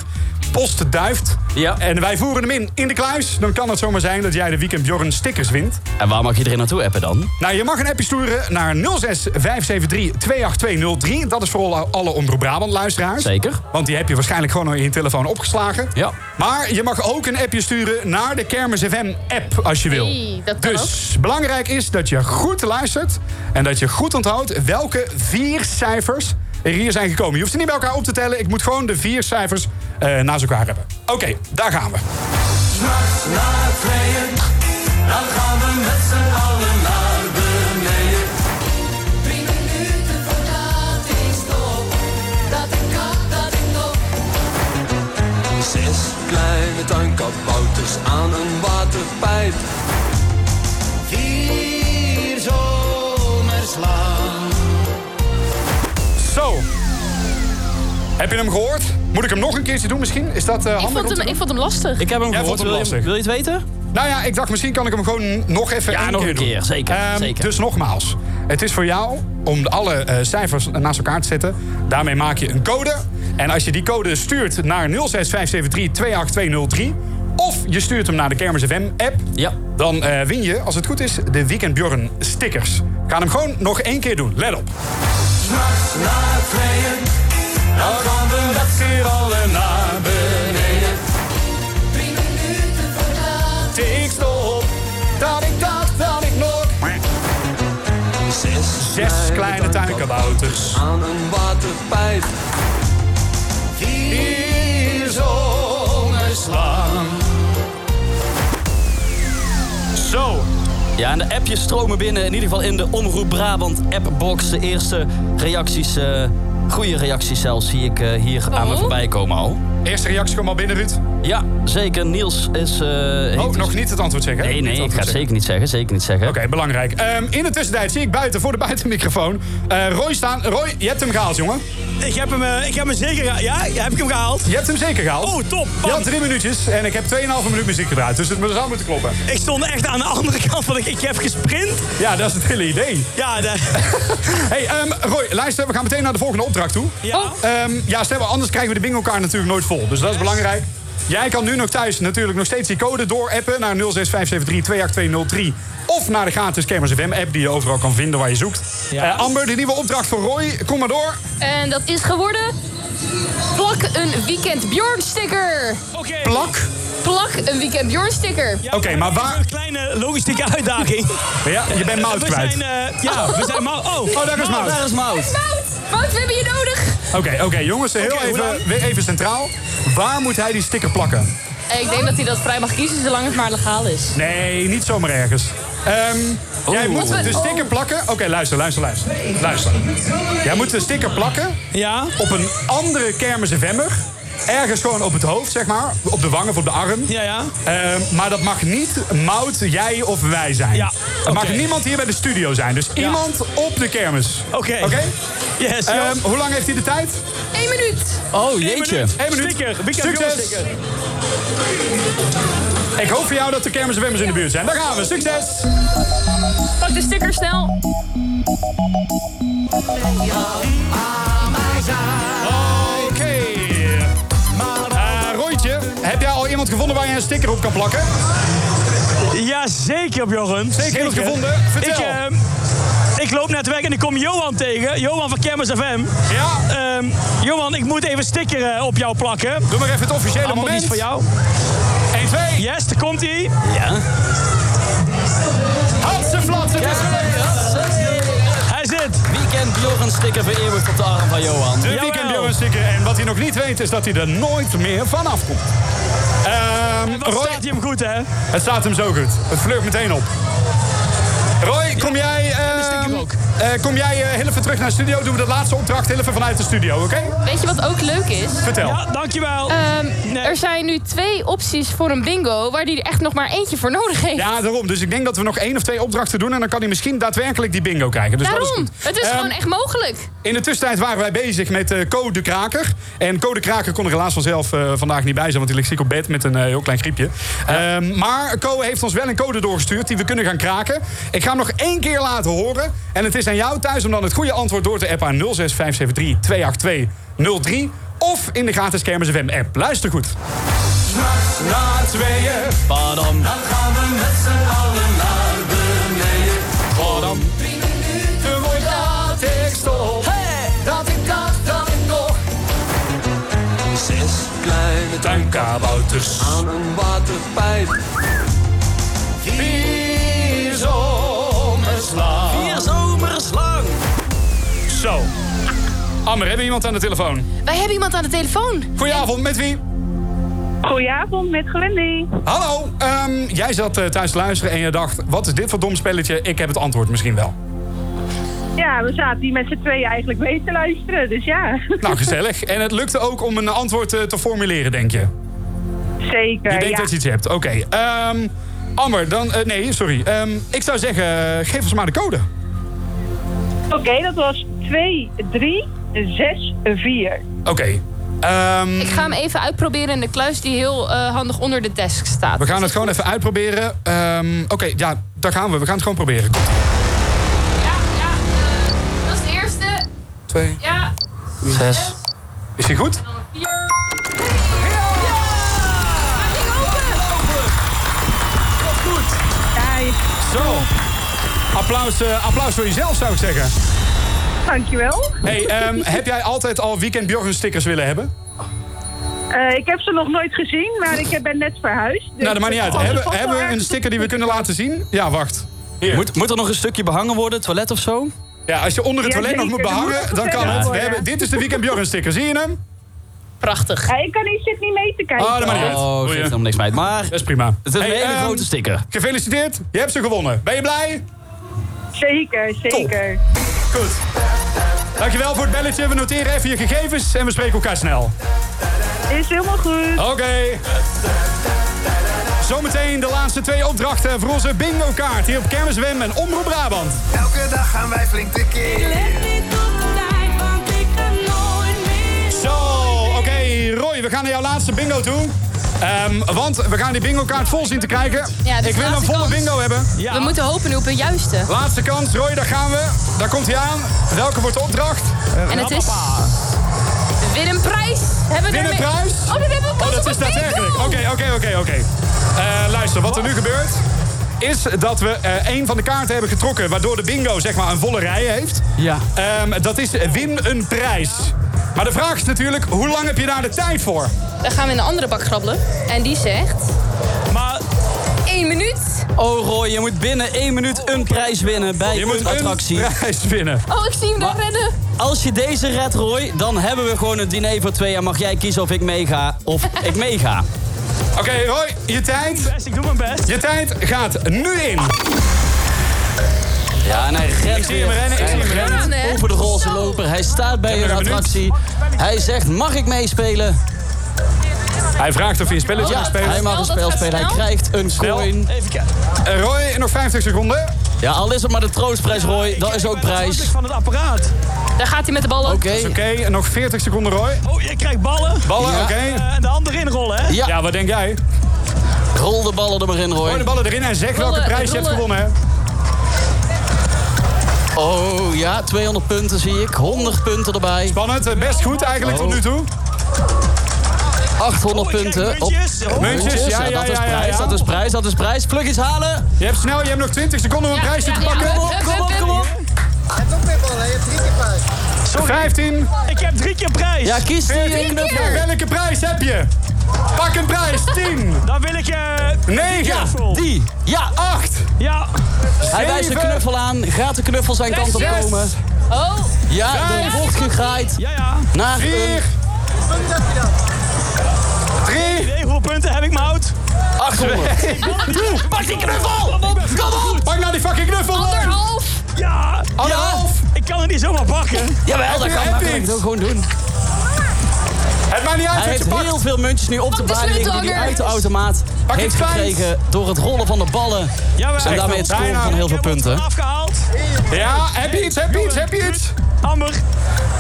Speaker 4: post duift.
Speaker 5: Ja.
Speaker 4: En wij voeren hem in in de kluis. Dan kan het zomaar zijn dat jij de weekend Bjorn stickers wint.
Speaker 5: En waar mag iedereen naartoe appen dan?
Speaker 4: Nou, je mag een appje sturen naar 06 573 28203. Dat is voor alle- alle Omroep Brabant luisteraars.
Speaker 5: Zeker.
Speaker 4: Want die heb je waarschijnlijk gewoon al in je telefoon opgeslagen.
Speaker 5: Ja.
Speaker 4: Maar je mag ook een appje sturen naar de Kermis FM app als je wil.
Speaker 6: Hey, dat kan
Speaker 4: dus belangrijk is dat je goed luistert en dat je goed onthoudt welke vier cijfers er hier zijn gekomen. Je hoeft ze niet bij elkaar op te tellen. Ik moet gewoon de vier cijfers eh, naast elkaar hebben. Oké, daar gaan we.
Speaker 10: S'nachts na het tweeën, dan gaan we met z'n allen naar beneden. Drie minuten voordat ik stop, dat ik kap, dat ik top.
Speaker 13: Zes kleine tuinkabouters aan een waterpijp.
Speaker 10: Vier zomers lang.
Speaker 4: Zo. Heb je hem gehoord? Moet ik hem nog een keertje doen misschien? Is dat eh
Speaker 6: Ik
Speaker 4: handig om
Speaker 6: vond
Speaker 4: te
Speaker 6: hem,
Speaker 4: doen?
Speaker 6: ik vond hem lastig.
Speaker 5: Ik heb hem
Speaker 4: Jij
Speaker 5: gehoord.
Speaker 4: vond hem
Speaker 5: Wil je,
Speaker 4: lastig.
Speaker 5: wil je het weten?
Speaker 4: Nou ja, ik dacht misschien kan ik hem gewoon nog even
Speaker 5: Ja,
Speaker 4: één
Speaker 5: nog
Speaker 4: keer
Speaker 5: een
Speaker 4: doen.
Speaker 5: keer. Zeker,
Speaker 4: Ehm,
Speaker 5: zeker.
Speaker 4: Dus nogmaals, het is voor jou om alle eh, cijfers naast elkaar te zetten. Daarmee maak je een code. En als je die code stuurt naar 0657328203... of je stuurt hem naar de Kermis FM-app...
Speaker 5: Ja.
Speaker 4: dan eh, win je, als het goed is, de Weekend Bjorn stickers. Ik ga hem gewoon nog één keer doen. Let op.
Speaker 10: S'nachts na het tweeën, dan gaan we met z'n allen naar beneden. Drie minuten voordat
Speaker 4: Ik stop, dat ik dacht dat ik nog... zes kleine tuinkabouters.
Speaker 10: Aan een waterpijp. Vier zomers lang.
Speaker 5: Zo. Ja, en de appjes stromen binnen. In ieder geval in de Omroep Brabant appbox. De eerste reacties, eh, goede reacties zelfs, zie ik eh, hier aan me voorbij komen al.
Speaker 4: Eerste reactie komt al binnen, Ruud?
Speaker 5: Ja, zeker. Niels is... eh,
Speaker 4: oh, nog niet het antwoord zeggen?
Speaker 5: Nee,
Speaker 4: Niet
Speaker 5: nee,
Speaker 4: het
Speaker 5: ik ga
Speaker 4: antwoord
Speaker 5: het zeker niet zeggen. Zeker niet zeggen.
Speaker 4: Oké, belangrijk. Ehm, in de tussentijd zie ik buiten voor de buitenmicrofoon eh, Roy staan. Roy, je hebt hem gehaald, jongen.
Speaker 7: Ik heb hem, eh, ik heb hem zeker gehaald. Ja, heb ik hem gehaald?
Speaker 4: Je hebt hem zeker gehaald.
Speaker 7: Oh, top.
Speaker 4: Je had drie minuutjes en ik heb 2,5 minuut muziek gedraaid. Dus het zou moeten kloppen.
Speaker 7: Ik stond echt aan de andere kant van ik, ik heb gesprint.
Speaker 4: Ja, dat is het hele idee.
Speaker 7: Ja, daar.
Speaker 4: hey, ehm, Roy, luister, we gaan meteen naar de volgende opdracht toe.
Speaker 7: Ja.
Speaker 4: Ehm, ja, stel, anders krijgen we de bingo kaart natuurlijk nooit vol. Dus dat is belangrijk. Jij kan nu nog thuis natuurlijk nog steeds die code doorappen naar 0657328203. Of naar de gratis Cameras FM app die je overal kan vinden waar je zoekt. Eh, Amber, die nieuwe opdracht voor Roy. Kom maar door.
Speaker 6: En dat is geworden... Plak een Weekend Bjorn sticker.
Speaker 4: Plak?
Speaker 6: Plak een Weekend Bjorn sticker.
Speaker 4: Oké, maar waar...
Speaker 7: Een kleine logistieke uitdaging.
Speaker 4: Ja, je bent Mout
Speaker 7: we
Speaker 4: kwijt.
Speaker 7: Zijn, eh, ja, we zijn Mout. Oh,
Speaker 4: Oh, daar is Mout.
Speaker 7: Daar is Mout.
Speaker 6: Mout, Mout, we hebben je nodig.
Speaker 7: eh,
Speaker 4: Oké, oké, jongens, heel
Speaker 6: Oké, hoe
Speaker 4: even, weer even centraal. Waar moet hij die sticker plakken?
Speaker 6: Eh, Ik denk dat hij dat vrij mag kiezen, zolang het maar legaal is.
Speaker 4: Nee, niet zomaar ergens. Ehm,
Speaker 7: Oh.
Speaker 4: jij moet
Speaker 6: Moeten we-
Speaker 4: de sticker plakken. Oké, luister, luister, luister. Luister. Jij moet de sticker plakken.
Speaker 7: Ja.
Speaker 4: Op een andere kermis in Vemmer. Ergens gewoon op het hoofd, zeg maar. Op de wang of op de arm. Ehm,
Speaker 7: Ja, ja.
Speaker 4: maar dat mag niet Mout, jij of wij zijn. Ja. Er mag niemand hier bij de studio zijn. Dus iemand op de kermis.
Speaker 7: Oké.
Speaker 4: Oké?
Speaker 7: Yes,
Speaker 4: Ehm,
Speaker 7: yes.
Speaker 4: hoe lang heeft hij de tijd?
Speaker 6: Eén minuut.
Speaker 5: Oh,
Speaker 4: Eén minuut.
Speaker 7: Sticker. Weekend Bjorn
Speaker 4: Succes.
Speaker 7: sticker.
Speaker 4: Ik hoop voor jou dat de kermis en Vemmers in de buurt zijn. Daar gaan we. Succes.
Speaker 6: Pak de sticker snel.
Speaker 4: Oké. Eh, Roytje, heb jij al iemand gevonden waar je een sticker op kan plakken?
Speaker 7: Jazeker, Bjorn.
Speaker 4: Zeker iemand gevonden? Vertel.
Speaker 7: Ik, ehm, ik loop net weg en ik kom Johan tegen. Johan van Kermis FM.
Speaker 4: Ja.
Speaker 7: Ehm, Johan, ik moet even een sticker eh, op jou plakken.
Speaker 4: Doe maar even het officiële
Speaker 7: Allemaal
Speaker 4: moment.
Speaker 7: iets voor jou.
Speaker 4: 1, 2.
Speaker 7: Yes, daar komt hij.
Speaker 5: Ja.
Speaker 4: Hatsen flatsen, het is
Speaker 7: Hij zit.
Speaker 5: Weekend Bjorn sticker vereeuwigd op de arm van Johan.
Speaker 10: Dus
Speaker 4: De weekend Bjorn sticker. En wat hij nog niet weet is dat hij er nooit meer vanaf komt. Ehm Roy,
Speaker 7: staat hij hem goed, hè?
Speaker 4: het staat hem zo goed. Het vleurt meteen op. Roy, kom jij, ehm, eh, kom jij eh, heel even terug naar de studio? Doen we de laatste opdracht heel even vanuit de studio, oké?
Speaker 6: Weet je wat ook leuk is? Ehm,
Speaker 4: Vertel. Ja,
Speaker 7: dankjewel.
Speaker 6: Er zijn nu twee opties voor een bingo waar die er echt nog maar eentje voor nodig heeft.
Speaker 4: Ja, daarom. Dus ik denk dat we nog één of twee opdrachten doen... en dan kan hij misschien daadwerkelijk die bingo krijgen. Dus dat is
Speaker 6: Daarom,
Speaker 4: goed.
Speaker 6: het is
Speaker 4: Ehm,
Speaker 6: gewoon echt mogelijk.
Speaker 4: In de tussentijd waren wij bezig met eh Co de Kraker. En Co de Kraker kon er helaas vanzelf eh, vandaag niet bij zijn... want hij ligt ziek op bed met een eh, heel klein griepje. Ehm, maar Co heeft ons wel een code doorgestuurd die we kunnen gaan kraken. Ik ga hem nog één keer laten horen. En het is aan jou thuis om dan het goede antwoord door te appen... aan 0657328203 of in de gratis Kermis FM app. Luister goed.
Speaker 10: S'nachts na tweeën.
Speaker 5: Badam.
Speaker 10: Dan gaan we met z'n allen naar beneden. Badam. Drie minuten wordt dat ik stop. Dat ik dacht dat ik nog. Zes kleine tuinkabouters. Aan een waterpijp. Vier zomers lang.
Speaker 5: Vier zomers lang.
Speaker 4: Zo. Amber, hebben we iemand aan de telefoon?
Speaker 6: Wij hebben iemand aan de telefoon.
Speaker 4: Goedenavond, met wie?
Speaker 15: Goedenavond met Glendy.
Speaker 4: Hallo, ehm, jij zat eh, thuis te luisteren en je dacht... wat is dit voor dom spelletje? Ik heb het antwoord misschien wel.
Speaker 15: Ja, we zaten hier met z'n tweeën eigenlijk mee te luisteren, dus ja.
Speaker 4: Nou, gezellig. En het lukte ook om een antwoord eh, te formuleren, denk je?
Speaker 15: Zeker,
Speaker 4: Je denkt
Speaker 15: ja.
Speaker 4: dat je iets hebt. Oké. ehm, Amber, dan... eh, nee, sorry. Ehm, ik zou zeggen, eh, geef ons maar de code.
Speaker 15: Oké, dat was 2, 3, 6, 4.
Speaker 4: Oké. ehm,
Speaker 6: Ik ga hem even uitproberen in de kluis die heel eh, handig onder de desk staat.
Speaker 4: we gaan het gewoon even uitproberen. Ehm, Oké, ja, daar gaan we. We gaan het gewoon proberen. Komt.
Speaker 6: Dat is de eerste.
Speaker 4: Twee. Nou,
Speaker 6: Ja,
Speaker 4: Zes. Is die goed?
Speaker 6: vier.
Speaker 4: Zo. Applaus, eh, applaus voor jezelf, zou ik zeggen.
Speaker 15: Dankjewel.
Speaker 4: Hey, ehm, heb jij altijd al Weekend Bjorgen stickers willen hebben?
Speaker 15: Eh, ik heb ze nog nooit gezien, maar ik ben net verhuisd. dus-
Speaker 4: nou, dat maakt niet uit.
Speaker 15: Oh,
Speaker 4: Hebben,
Speaker 15: dat was
Speaker 4: hebben we
Speaker 15: wel
Speaker 4: een
Speaker 15: erg.
Speaker 4: sticker die we kunnen laten zien? Ja, wacht.
Speaker 5: Moet, moet er nog een stukje behangen worden, toilet of zo?
Speaker 4: Ja, als je onder het
Speaker 15: Ja,
Speaker 4: toilet nog moet
Speaker 15: zeker. Dan moet
Speaker 4: behangen,
Speaker 15: het
Speaker 4: dan kan
Speaker 15: verteld
Speaker 4: het. We
Speaker 15: worden.
Speaker 4: hebben, dit is de Weekend Bjorn sticker, zie je hem?
Speaker 6: Prachtig.
Speaker 15: Ja, ik kan niet, zit niet mee te kijken.
Speaker 4: Oh, dat maakt niet uit.
Speaker 5: Oh, geeft helemaal niks mee. Maar dat
Speaker 4: is prima.
Speaker 5: Het is een
Speaker 4: Hey,
Speaker 5: hele
Speaker 4: ehm,
Speaker 5: grote sticker.
Speaker 4: Gefeliciteerd, je hebt ze gewonnen. Ben je blij?
Speaker 15: Zeker, zeker.
Speaker 4: Goed. Dankjewel voor het belletje. We noteren even je gegevens en we spreken elkaar snel.
Speaker 15: Is helemaal goed.
Speaker 4: Oké. Zometeen de laatste twee opdrachten voor onze bingo-kaart hier op Kermis Wim en Omroep Brabant.
Speaker 10: Elke dag gaan wij flink tekeer. Let niet op de tijd, want ik kan nooit meer.
Speaker 4: Zo, oké Roy, we gaan naar jouw laatste bingo toe. Ehm, want we gaan die bingo-kaart vol zien te krijgen.
Speaker 6: Ja, dus
Speaker 4: Ik wil een
Speaker 6: laatste
Speaker 4: volle
Speaker 6: kans.
Speaker 4: bingo hebben.
Speaker 6: We moeten hopen op een juiste.
Speaker 4: Laatste kans, Roy, daar gaan we. Daar komt hij aan. Welke wordt de opdracht?
Speaker 6: En het is... Win een prijs. Hebben we
Speaker 4: Win een
Speaker 6: ermee-
Speaker 4: prijs?
Speaker 6: Oh, dan hebben we kans
Speaker 4: Oh, dat
Speaker 6: op
Speaker 4: is
Speaker 6: een bingo.
Speaker 4: daadwerkelijk. Oké, oké, oké, oké. Eh, luister, wat er nu gebeurt is dat we eh één van de kaarten hebben getrokken... waardoor de bingo zeg maar een volle rij heeft.
Speaker 5: Ja.
Speaker 4: Ehm, dat is win een prijs. Maar de vraag is natuurlijk, hoe lang heb je daar de tijd voor?
Speaker 6: Dan gaan we in een andere bak grabbelen. En die zegt...
Speaker 7: Maar...
Speaker 6: Eén minuut.
Speaker 5: Oh Roy, je moet binnen één minuut een prijs winnen bij
Speaker 4: Je
Speaker 5: een
Speaker 4: moet een
Speaker 5: attractie.
Speaker 4: prijs winnen.
Speaker 6: Oh, ik zie hem daar rennen.
Speaker 5: Als je deze redt, Roy, dan hebben we gewoon een diner voor twee. En mag jij kiezen of ik meega of ik meega.
Speaker 4: Oké, Roy, je tijd...
Speaker 7: Ik doe mijn best.
Speaker 4: Je tijd gaat nu in.
Speaker 5: Ja, en hij rent
Speaker 4: Ik zie hem
Speaker 5: weer.
Speaker 4: rennen, ik
Speaker 5: Hij
Speaker 4: zie hem
Speaker 5: rent
Speaker 4: rennen.
Speaker 6: hè?
Speaker 5: Over de roze loper. Hij staat bij een attractie. Hij zegt, mag ik meespelen?
Speaker 4: Hij vraagt of je een spelletje
Speaker 5: Ja,
Speaker 4: mag spelen.
Speaker 5: hij mag een spel spelen. Hij krijgt een coin.
Speaker 7: Even kijken.
Speaker 4: Eh, Roy, nog 50 seconden.
Speaker 5: Ja, al is het maar de troostprijs, Roy. Dat is ook prijs.
Speaker 7: Van het apparaat.
Speaker 6: Daar gaat hij met de ballen.
Speaker 5: Oké.
Speaker 4: Is Oké, en nog 40 seconden, Roy.
Speaker 7: Oh, je krijgt ballen. Eh,
Speaker 4: Ballen,
Speaker 5: Ja.
Speaker 4: oké.
Speaker 7: En de handen inrollen, hè?
Speaker 5: Ja,
Speaker 4: Ja, wat denk jij?
Speaker 5: rol de ballen er maar in,
Speaker 4: Gooi de
Speaker 5: Roy.
Speaker 4: ballen erin en zeg welke
Speaker 6: Rollen,
Speaker 4: prijs je hebt
Speaker 6: rollen.
Speaker 4: gewonnen, hè?
Speaker 5: Oh ja, 200 punten zie ik. 100 punten erbij.
Speaker 4: Spannend, eh, best goed eigenlijk tot nu toe.
Speaker 7: Oh,
Speaker 5: 800 punten. Op
Speaker 7: Muntjes. Oh,
Speaker 4: Muntjes, ja, ja,
Speaker 5: dat is
Speaker 4: ja, ja,
Speaker 5: prijs,
Speaker 4: ja.
Speaker 5: dat is prijs, dat is prijs. Pluggies halen.
Speaker 4: Je hebt snel, je hebt nog 20 seconden om een
Speaker 6: Ja,
Speaker 4: prijsje
Speaker 6: ja,
Speaker 4: te
Speaker 6: ja.
Speaker 4: pakken.
Speaker 5: Kom op, kom op, kom op.
Speaker 7: Sorry,
Speaker 4: 15.
Speaker 7: Oh, ik heb drie keer prijs.
Speaker 5: Ja, kies die eh,
Speaker 4: 14.
Speaker 5: knuffel.
Speaker 4: Welke prijs heb je? Pak een prijs. 10,
Speaker 7: Dan wil ik je...
Speaker 4: 9,
Speaker 5: Die. Ja,
Speaker 4: 8,
Speaker 7: Ja.
Speaker 5: hij wijst de
Speaker 4: 7.
Speaker 5: knuffel aan. Gaat de knuffel zijn kant op
Speaker 4: Zes.
Speaker 5: komen?
Speaker 6: Oh,
Speaker 5: Ja, er wordt gegraaid
Speaker 7: Ja, ja.
Speaker 5: naar een
Speaker 4: 4, 3.
Speaker 7: Nee, hoeveel punten heb ik, Mout?
Speaker 5: 800.
Speaker 7: Pak die knuffel! Kom op!
Speaker 4: Pak nou die fucking knuffel. Roy.
Speaker 6: anderhalf.
Speaker 7: Ja.
Speaker 4: Anderhalf.
Speaker 7: Ik kan het niet zomaar pakken.
Speaker 5: Jawel, dat
Speaker 4: je-
Speaker 5: kan
Speaker 4: heb je
Speaker 5: makkelijk
Speaker 4: iets?
Speaker 5: ook gewoon doen.
Speaker 4: Het maakt niet uit
Speaker 5: Hij
Speaker 4: wat je
Speaker 5: heeft heel
Speaker 4: pakt.
Speaker 5: veel muntjes nu op de
Speaker 6: Pak de
Speaker 5: baan liggen die hij
Speaker 6: sleutelhanger.
Speaker 5: uit de automaat
Speaker 4: Pak
Speaker 5: heeft
Speaker 4: het fijn.
Speaker 5: gekregen door het rollen van de ballen.
Speaker 7: Jawel.
Speaker 5: En daarmee het scoren
Speaker 4: bijna.
Speaker 5: van heel veel
Speaker 7: Ik heb het
Speaker 5: punten.
Speaker 7: Afgehaald.
Speaker 4: Ja, heb je iets, heb je iets, heb je iets?
Speaker 7: Amber.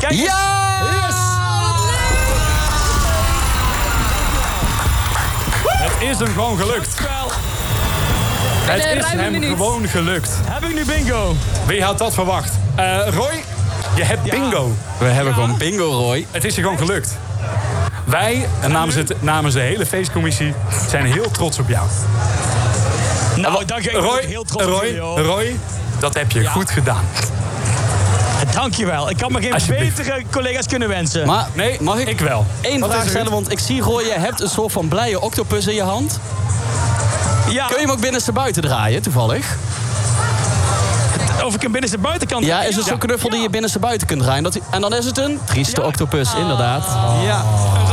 Speaker 7: Kijk, eens.
Speaker 5: Ja!
Speaker 4: Het is hem gewoon gelukt.
Speaker 7: Wel,
Speaker 4: Het
Speaker 6: een
Speaker 4: is
Speaker 6: ruime
Speaker 4: hem
Speaker 6: minuut.
Speaker 4: gewoon gelukt.
Speaker 7: Heb ik nu bingo?
Speaker 5: Nou,
Speaker 4: Wie had dat verwacht? Eh, Roy, je hebt bingo.
Speaker 5: We hebben gewoon bingo, Roy.
Speaker 4: Het is je gewoon gelukt. Wij, en namens, het, namens de hele feestcommissie, zijn heel trots op jou.
Speaker 7: Nou, dank je. Ik ben
Speaker 4: Roy,
Speaker 7: ook heel trots op
Speaker 4: Roy,
Speaker 7: jullie, hoor.
Speaker 4: Roy, dat heb je goed gedaan.
Speaker 7: Dankjewel. Ik had me geen
Speaker 4: Alsjeblieft.
Speaker 7: betere collega's kunnen wensen.
Speaker 5: eh, Maar
Speaker 4: Nee,
Speaker 5: mag ik,
Speaker 4: ik wel.
Speaker 5: één
Speaker 4: Wat is
Speaker 5: vraag
Speaker 4: er,
Speaker 5: stellen?
Speaker 4: Ruud?
Speaker 5: Want ik zie, Roy, je hebt een soort van blije octopus in je hand.
Speaker 7: ja,
Speaker 5: Kun je hem ook binnenstebuiten draaien, toevallig?
Speaker 7: of ik hem binnenste buitenkant...
Speaker 5: Ja, is het zo'n knuffel die je binnenstebuiten kunt draaien? Dat die- en dan is het een trieste octopus, inderdaad. Ja.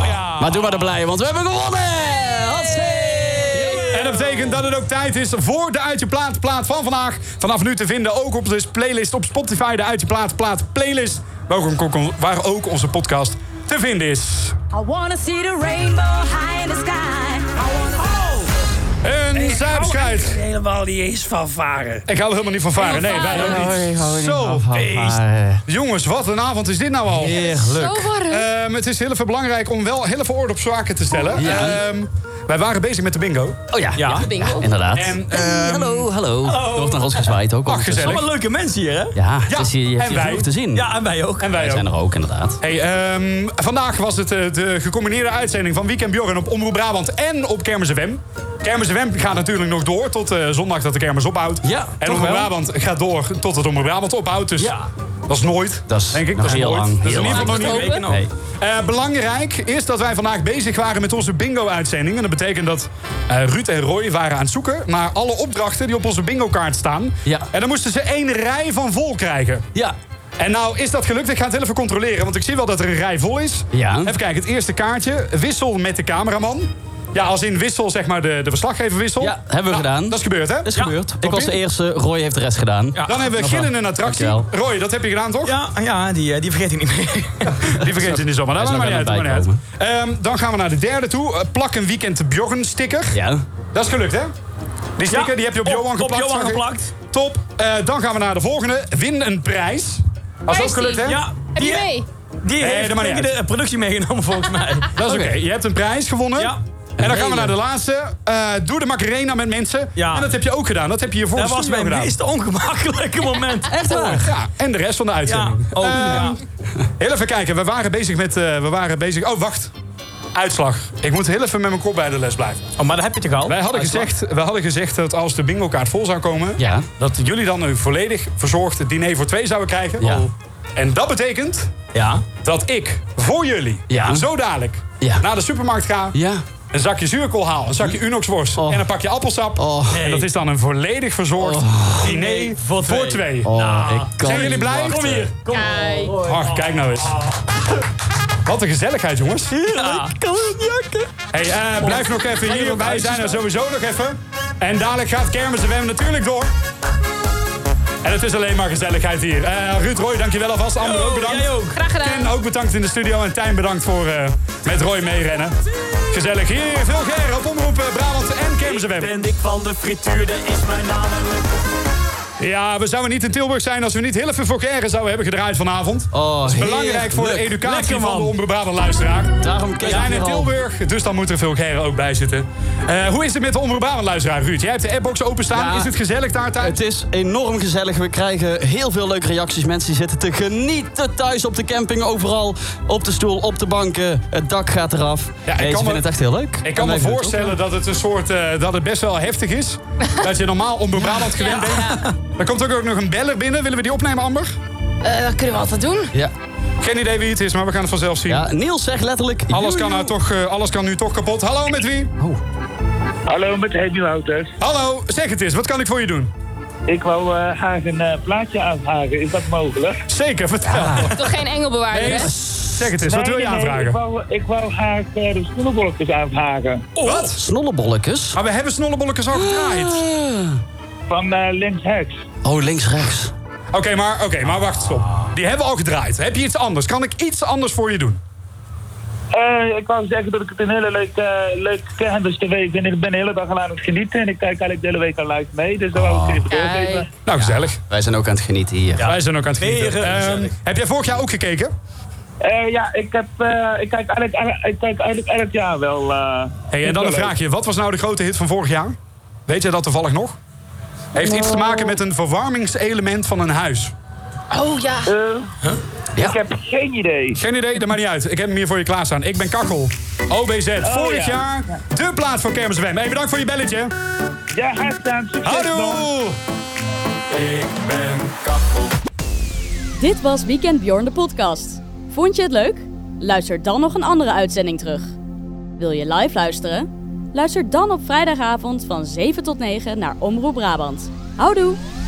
Speaker 7: Ja.
Speaker 5: Maar doe maar de blije, want we hebben gewonnen! Hatsé!
Speaker 4: En dat betekent dat het ook tijd is voor de Uit Je Plaat plaat van vandaag. Vanaf nu te vinden ook op de playlist op Spotify. De Uit Je Plaat plaat playlist. welkom- Waar ook onze podcast te vinden is.
Speaker 10: I wanna see the rainbow high in the sky.
Speaker 13: Oh,
Speaker 4: Een
Speaker 13: Ik
Speaker 4: zuipscheid.
Speaker 13: er Oh, helemaal niet eens van varen.
Speaker 4: Ik hou er helemaal niet van varen. Nee, wij ook niet. Zo. Jongens, wat een avond is dit nou al.
Speaker 5: Heerlijk.
Speaker 6: Zo warm.
Speaker 4: Ehm, het is heel even belangrijk om wel heel even orde op zaken te stellen.
Speaker 5: Ja.
Speaker 4: Ehm, wij waren bezig met de bingo.
Speaker 5: Oh ja, ja.
Speaker 6: bingo.
Speaker 5: inderdaad.
Speaker 4: En, ehm,
Speaker 5: hallo, hallo. Er wordt naar ons gezwaaid ook.
Speaker 4: Ach,
Speaker 5: ondertussen.
Speaker 4: gezellig.
Speaker 7: Allemaal leuke mensen hier, hè?
Speaker 5: Ja, het
Speaker 4: Ja,
Speaker 5: is hier, je hebt
Speaker 4: en
Speaker 5: hier
Speaker 4: wij.
Speaker 5: genoeg te zien.
Speaker 7: Ja, en wij ook.
Speaker 4: en wij
Speaker 5: Wij zijn
Speaker 4: ook.
Speaker 5: er ook, inderdaad.
Speaker 4: Hey, ehm, vandaag was het eh, de gecombineerde uitzending van Weekend Bjorn op Omroep Brabant en op Kermis FM. Kermis FM gaat natuurlijk nog door tot eh, zondag dat de kermis ophoudt.
Speaker 5: Ja,
Speaker 4: en
Speaker 5: toch
Speaker 4: Omroep
Speaker 5: wel.
Speaker 4: Brabant gaat door tot het Omroep Brabant ophoudt. Dus
Speaker 5: Ja.
Speaker 4: we Dat is nooit.
Speaker 5: Dat is
Speaker 4: denk ik.
Speaker 5: nog
Speaker 4: dat is
Speaker 5: heel
Speaker 4: nooit.
Speaker 5: lang.
Speaker 4: Dat is
Speaker 5: Heel
Speaker 4: in ieder geval
Speaker 5: lang.
Speaker 4: nog niet
Speaker 5: Open? Nee.
Speaker 4: Eh, belangrijk is dat wij vandaag bezig waren met onze bingo-uitzending. En dat betekent dat eh, Ruud en Roy waren aan het zoeken naar alle opdrachten die op onze bingo-kaart staan. En dan moesten ze één rij van vol krijgen.
Speaker 5: Ja.
Speaker 4: En nou is dat gelukt. Ik ga het heel even controleren, want ik zie wel dat er een rij vol is.
Speaker 5: Ja.
Speaker 4: Even kijken, het eerste kaartje. Wissel met de cameraman. Ja, als in wissel, zeg maar, de, de verslaggever wissel. Ja,
Speaker 5: hebben we gedaan.
Speaker 4: Dat is gebeurd, hè?
Speaker 5: Is
Speaker 4: Ja.
Speaker 5: gebeurd. Ik
Speaker 4: Oké.
Speaker 5: was de eerste, Roy heeft de rest gedaan.
Speaker 4: Dan hebben we gillen en attractie.
Speaker 5: Dankjewel.
Speaker 4: Roy, dat heb je gedaan, toch?
Speaker 7: Ja, ja die, eh, die vergeet ik niet meer.
Speaker 4: Die vergeet je niet zomaar.
Speaker 7: Hij
Speaker 4: Nou,
Speaker 7: is
Speaker 4: maakt maar niet uit.
Speaker 7: nog
Speaker 4: maakt
Speaker 7: aan het
Speaker 4: niet uit. Ehm, dan gaan we naar de derde toe. Eh, plak een weekend Bjorn sticker.
Speaker 5: Ja.
Speaker 4: Dat is gelukt, hè? Die sticker
Speaker 7: Ja,
Speaker 4: die heb je op,
Speaker 7: op-
Speaker 4: Johan
Speaker 7: op
Speaker 4: geplakt.
Speaker 7: Johan
Speaker 4: zag ik.
Speaker 7: geplakt.
Speaker 4: Top. Eh, dan gaan we naar de volgende. Win een prijs. Dat is ook gelukt, hè?
Speaker 7: Ja. die- Die
Speaker 4: Nee,
Speaker 7: heeft
Speaker 4: dat maakt niet
Speaker 7: denk ik, de productie meegenomen volgens mij.
Speaker 4: Dat is oké. Je hebt een prijs gewonnen. En dan gaan we
Speaker 7: Hele.
Speaker 4: naar de laatste. Eh, doe de Macarena met mensen. En dat heb je ook gedaan. Dat heb je hiervoor
Speaker 7: Dat
Speaker 4: in de
Speaker 7: was
Speaker 4: studio
Speaker 7: mijn
Speaker 4: gedaan.
Speaker 7: meest ongemakkelijke moment. Echt waar?
Speaker 4: Ja, en de rest van de uitzending.
Speaker 7: Ja. Oh,
Speaker 4: Ehm,
Speaker 7: ja.
Speaker 4: Heel even kijken. We waren bezig met... eh, we waren bezig... Oh, wacht. Uitslag. Ik moet heel even met mijn kop bij de les blijven.
Speaker 7: Oh, maar dat heb je toch al?
Speaker 4: Wij hadden,
Speaker 7: Uitslag.
Speaker 4: gezegd, wij hadden gezegd dat als de bingo kaart vol zou komen...
Speaker 5: Ja.
Speaker 4: dat jullie dan een volledig verzorgd diner voor twee zouden krijgen.
Speaker 5: Ja.
Speaker 4: En dat betekent
Speaker 5: Ja.
Speaker 4: dat ik voor jullie
Speaker 5: Ja.
Speaker 4: zo dadelijk naar de supermarkt ga... een zakje zuurkool haal, een zakje unoxworst
Speaker 5: Oh.
Speaker 4: en een pakje appelsap. En dat is dan een volledig verzorgd diner voor Oh, twee.
Speaker 5: Oh, ik kan
Speaker 4: Nou, Zijn jullie
Speaker 5: niet
Speaker 4: blij?
Speaker 5: wachten.
Speaker 4: Kom. Ach, kijk nou eens. Wat een gezelligheid, jongens.
Speaker 7: Ja. Ik kan het jakken.
Speaker 4: Hey, eh, blijf nog even hier. Wij zijn er sowieso nog even. En dadelijk gaat Kermis en Wem natuurlijk door. En het is alleen maar gezelligheid hier. Eh Ruud Roy, dankjewel alvast. Amber, ook bedankt.
Speaker 6: Graag gedaan.
Speaker 4: Ken ook bedankt in de studio. En Tijn, bedankt voor eh, met Roy meerennen. Gezellig hier. Veel Ger op Omroep eh, Brabant en Kermis en Wem.
Speaker 13: Ben ik van de frituur, dat is mijn naam.
Speaker 4: Ja, we zouden niet in Tilburg zijn als we niet heel even voor Gerre zouden hebben gedraaid vanavond. dat is belangrijk voor de
Speaker 5: Oh, heerlijk.
Speaker 4: educatie
Speaker 5: Lekker,
Speaker 4: van
Speaker 5: man.
Speaker 4: de onbebraden luisteraar.
Speaker 5: Daarom
Speaker 4: we
Speaker 5: keek
Speaker 4: zijn
Speaker 5: ik
Speaker 4: in
Speaker 5: hier al.
Speaker 4: Tilburg, dus dan moet er veel Gerre ook bij zitten. Eh, hoe is het met de onbebraden luisteraar, Ruud? Jij hebt de appbox openstaan.
Speaker 5: Ja.
Speaker 4: Is het gezellig daar thuis?
Speaker 5: Het is enorm gezellig. We krijgen heel veel leuke reacties. Mensen die zitten te genieten thuis op de camping, overal. Op de stoel, op de banken. Het dak gaat eraf. Ja,
Speaker 4: ik
Speaker 5: ik
Speaker 4: kan me-
Speaker 5: vind het echt heel leuk.
Speaker 4: Ik kan me
Speaker 5: Wij vinden het
Speaker 4: voorstellen dat het een soort eh, dat het best wel heftig is. dat je normaal onbebraland gewend bent. Er komt ook nog een beller binnen. Willen we die opnemen, Amber?
Speaker 6: Eh, dat kunnen we altijd doen.
Speaker 5: Ja.
Speaker 4: Geen idee wie het is, maar we gaan het vanzelf zien.
Speaker 5: Ja, Niels zegt letterlijk...
Speaker 4: Alles
Speaker 5: joe,
Speaker 4: kan,
Speaker 5: joe.
Speaker 4: nou toch, eh, alles kan nu toch kapot. Hallo, met wie?
Speaker 16: Hallo, met Henny Wouters.
Speaker 4: Hallo, zeg het eens. Wat kan ik voor je doen?
Speaker 16: Ik wou eh, graag een eh, plaatje aanvragen. Is dat mogelijk?
Speaker 4: Zeker, vertel.
Speaker 6: Toch geen engelbewaarder,
Speaker 4: Nee,
Speaker 6: hè?
Speaker 4: Zeg het eens, wat
Speaker 16: Nee,
Speaker 4: wil je
Speaker 16: nee, ik,
Speaker 4: aanvragen?
Speaker 16: wou, ik wou graag eh, de schoenenbolletjes aanvragen.
Speaker 4: Wat?
Speaker 5: Snollebolletjes?
Speaker 4: Maar we hebben snollebolletjes al gedraaid.
Speaker 16: Van eh Links Heks.
Speaker 5: Oh, links-rechts.
Speaker 4: Oké, maar, oké, maar wacht, stop. Die hebben we al gedraaid. Heb je iets anders? Kan ik iets anders voor je doen?
Speaker 16: Eh, ik wou zeggen dat ik het een hele leuk, eh leuk kermis TV vind. Ik ben de hele dag al aan het genieten. En ik kijk eigenlijk de hele week al live mee. Dus daar wou ik even doorgeven.
Speaker 4: Nou, gezellig.
Speaker 5: Wij zijn ook aan het genieten hier.
Speaker 4: Wij zijn ook aan het genieten.
Speaker 7: Weer
Speaker 4: Ehm, heb jij vorig jaar ook gekeken?
Speaker 16: Eh, ja, ik, heb, eh, ik, kijk eigenlijk, ik kijk eigenlijk elk jaar wel. eh,
Speaker 4: Hey, en dan een
Speaker 16: wel leuk.
Speaker 4: vraagje. Wat was nou de grote hit van vorig jaar? Weet jij dat toevallig nog? Heeft iets te maken met een verwarmingselement van een huis.
Speaker 6: Oh ja.
Speaker 4: Ik
Speaker 16: Eh, heb geen idee.
Speaker 4: Geen idee, dat maakt niet uit. Ik heb hem hier voor je klaarstaan. Ik ben Kachel. OBZ, vorig
Speaker 16: Oh, ja.
Speaker 4: jaar de plaat van Kermis Wem. Hey, bedankt voor je belletje.
Speaker 16: Ja, gaat staan.
Speaker 4: Houdoe!
Speaker 13: Ik ben kachel.
Speaker 1: Dit was Weekend Bjorn de podcast. Vond je het leuk? Luister dan nog een andere uitzending terug. Wil je live luisteren? Luister dan op vrijdagavond van 7 tot 9 naar Omroep Brabant. Houdoe!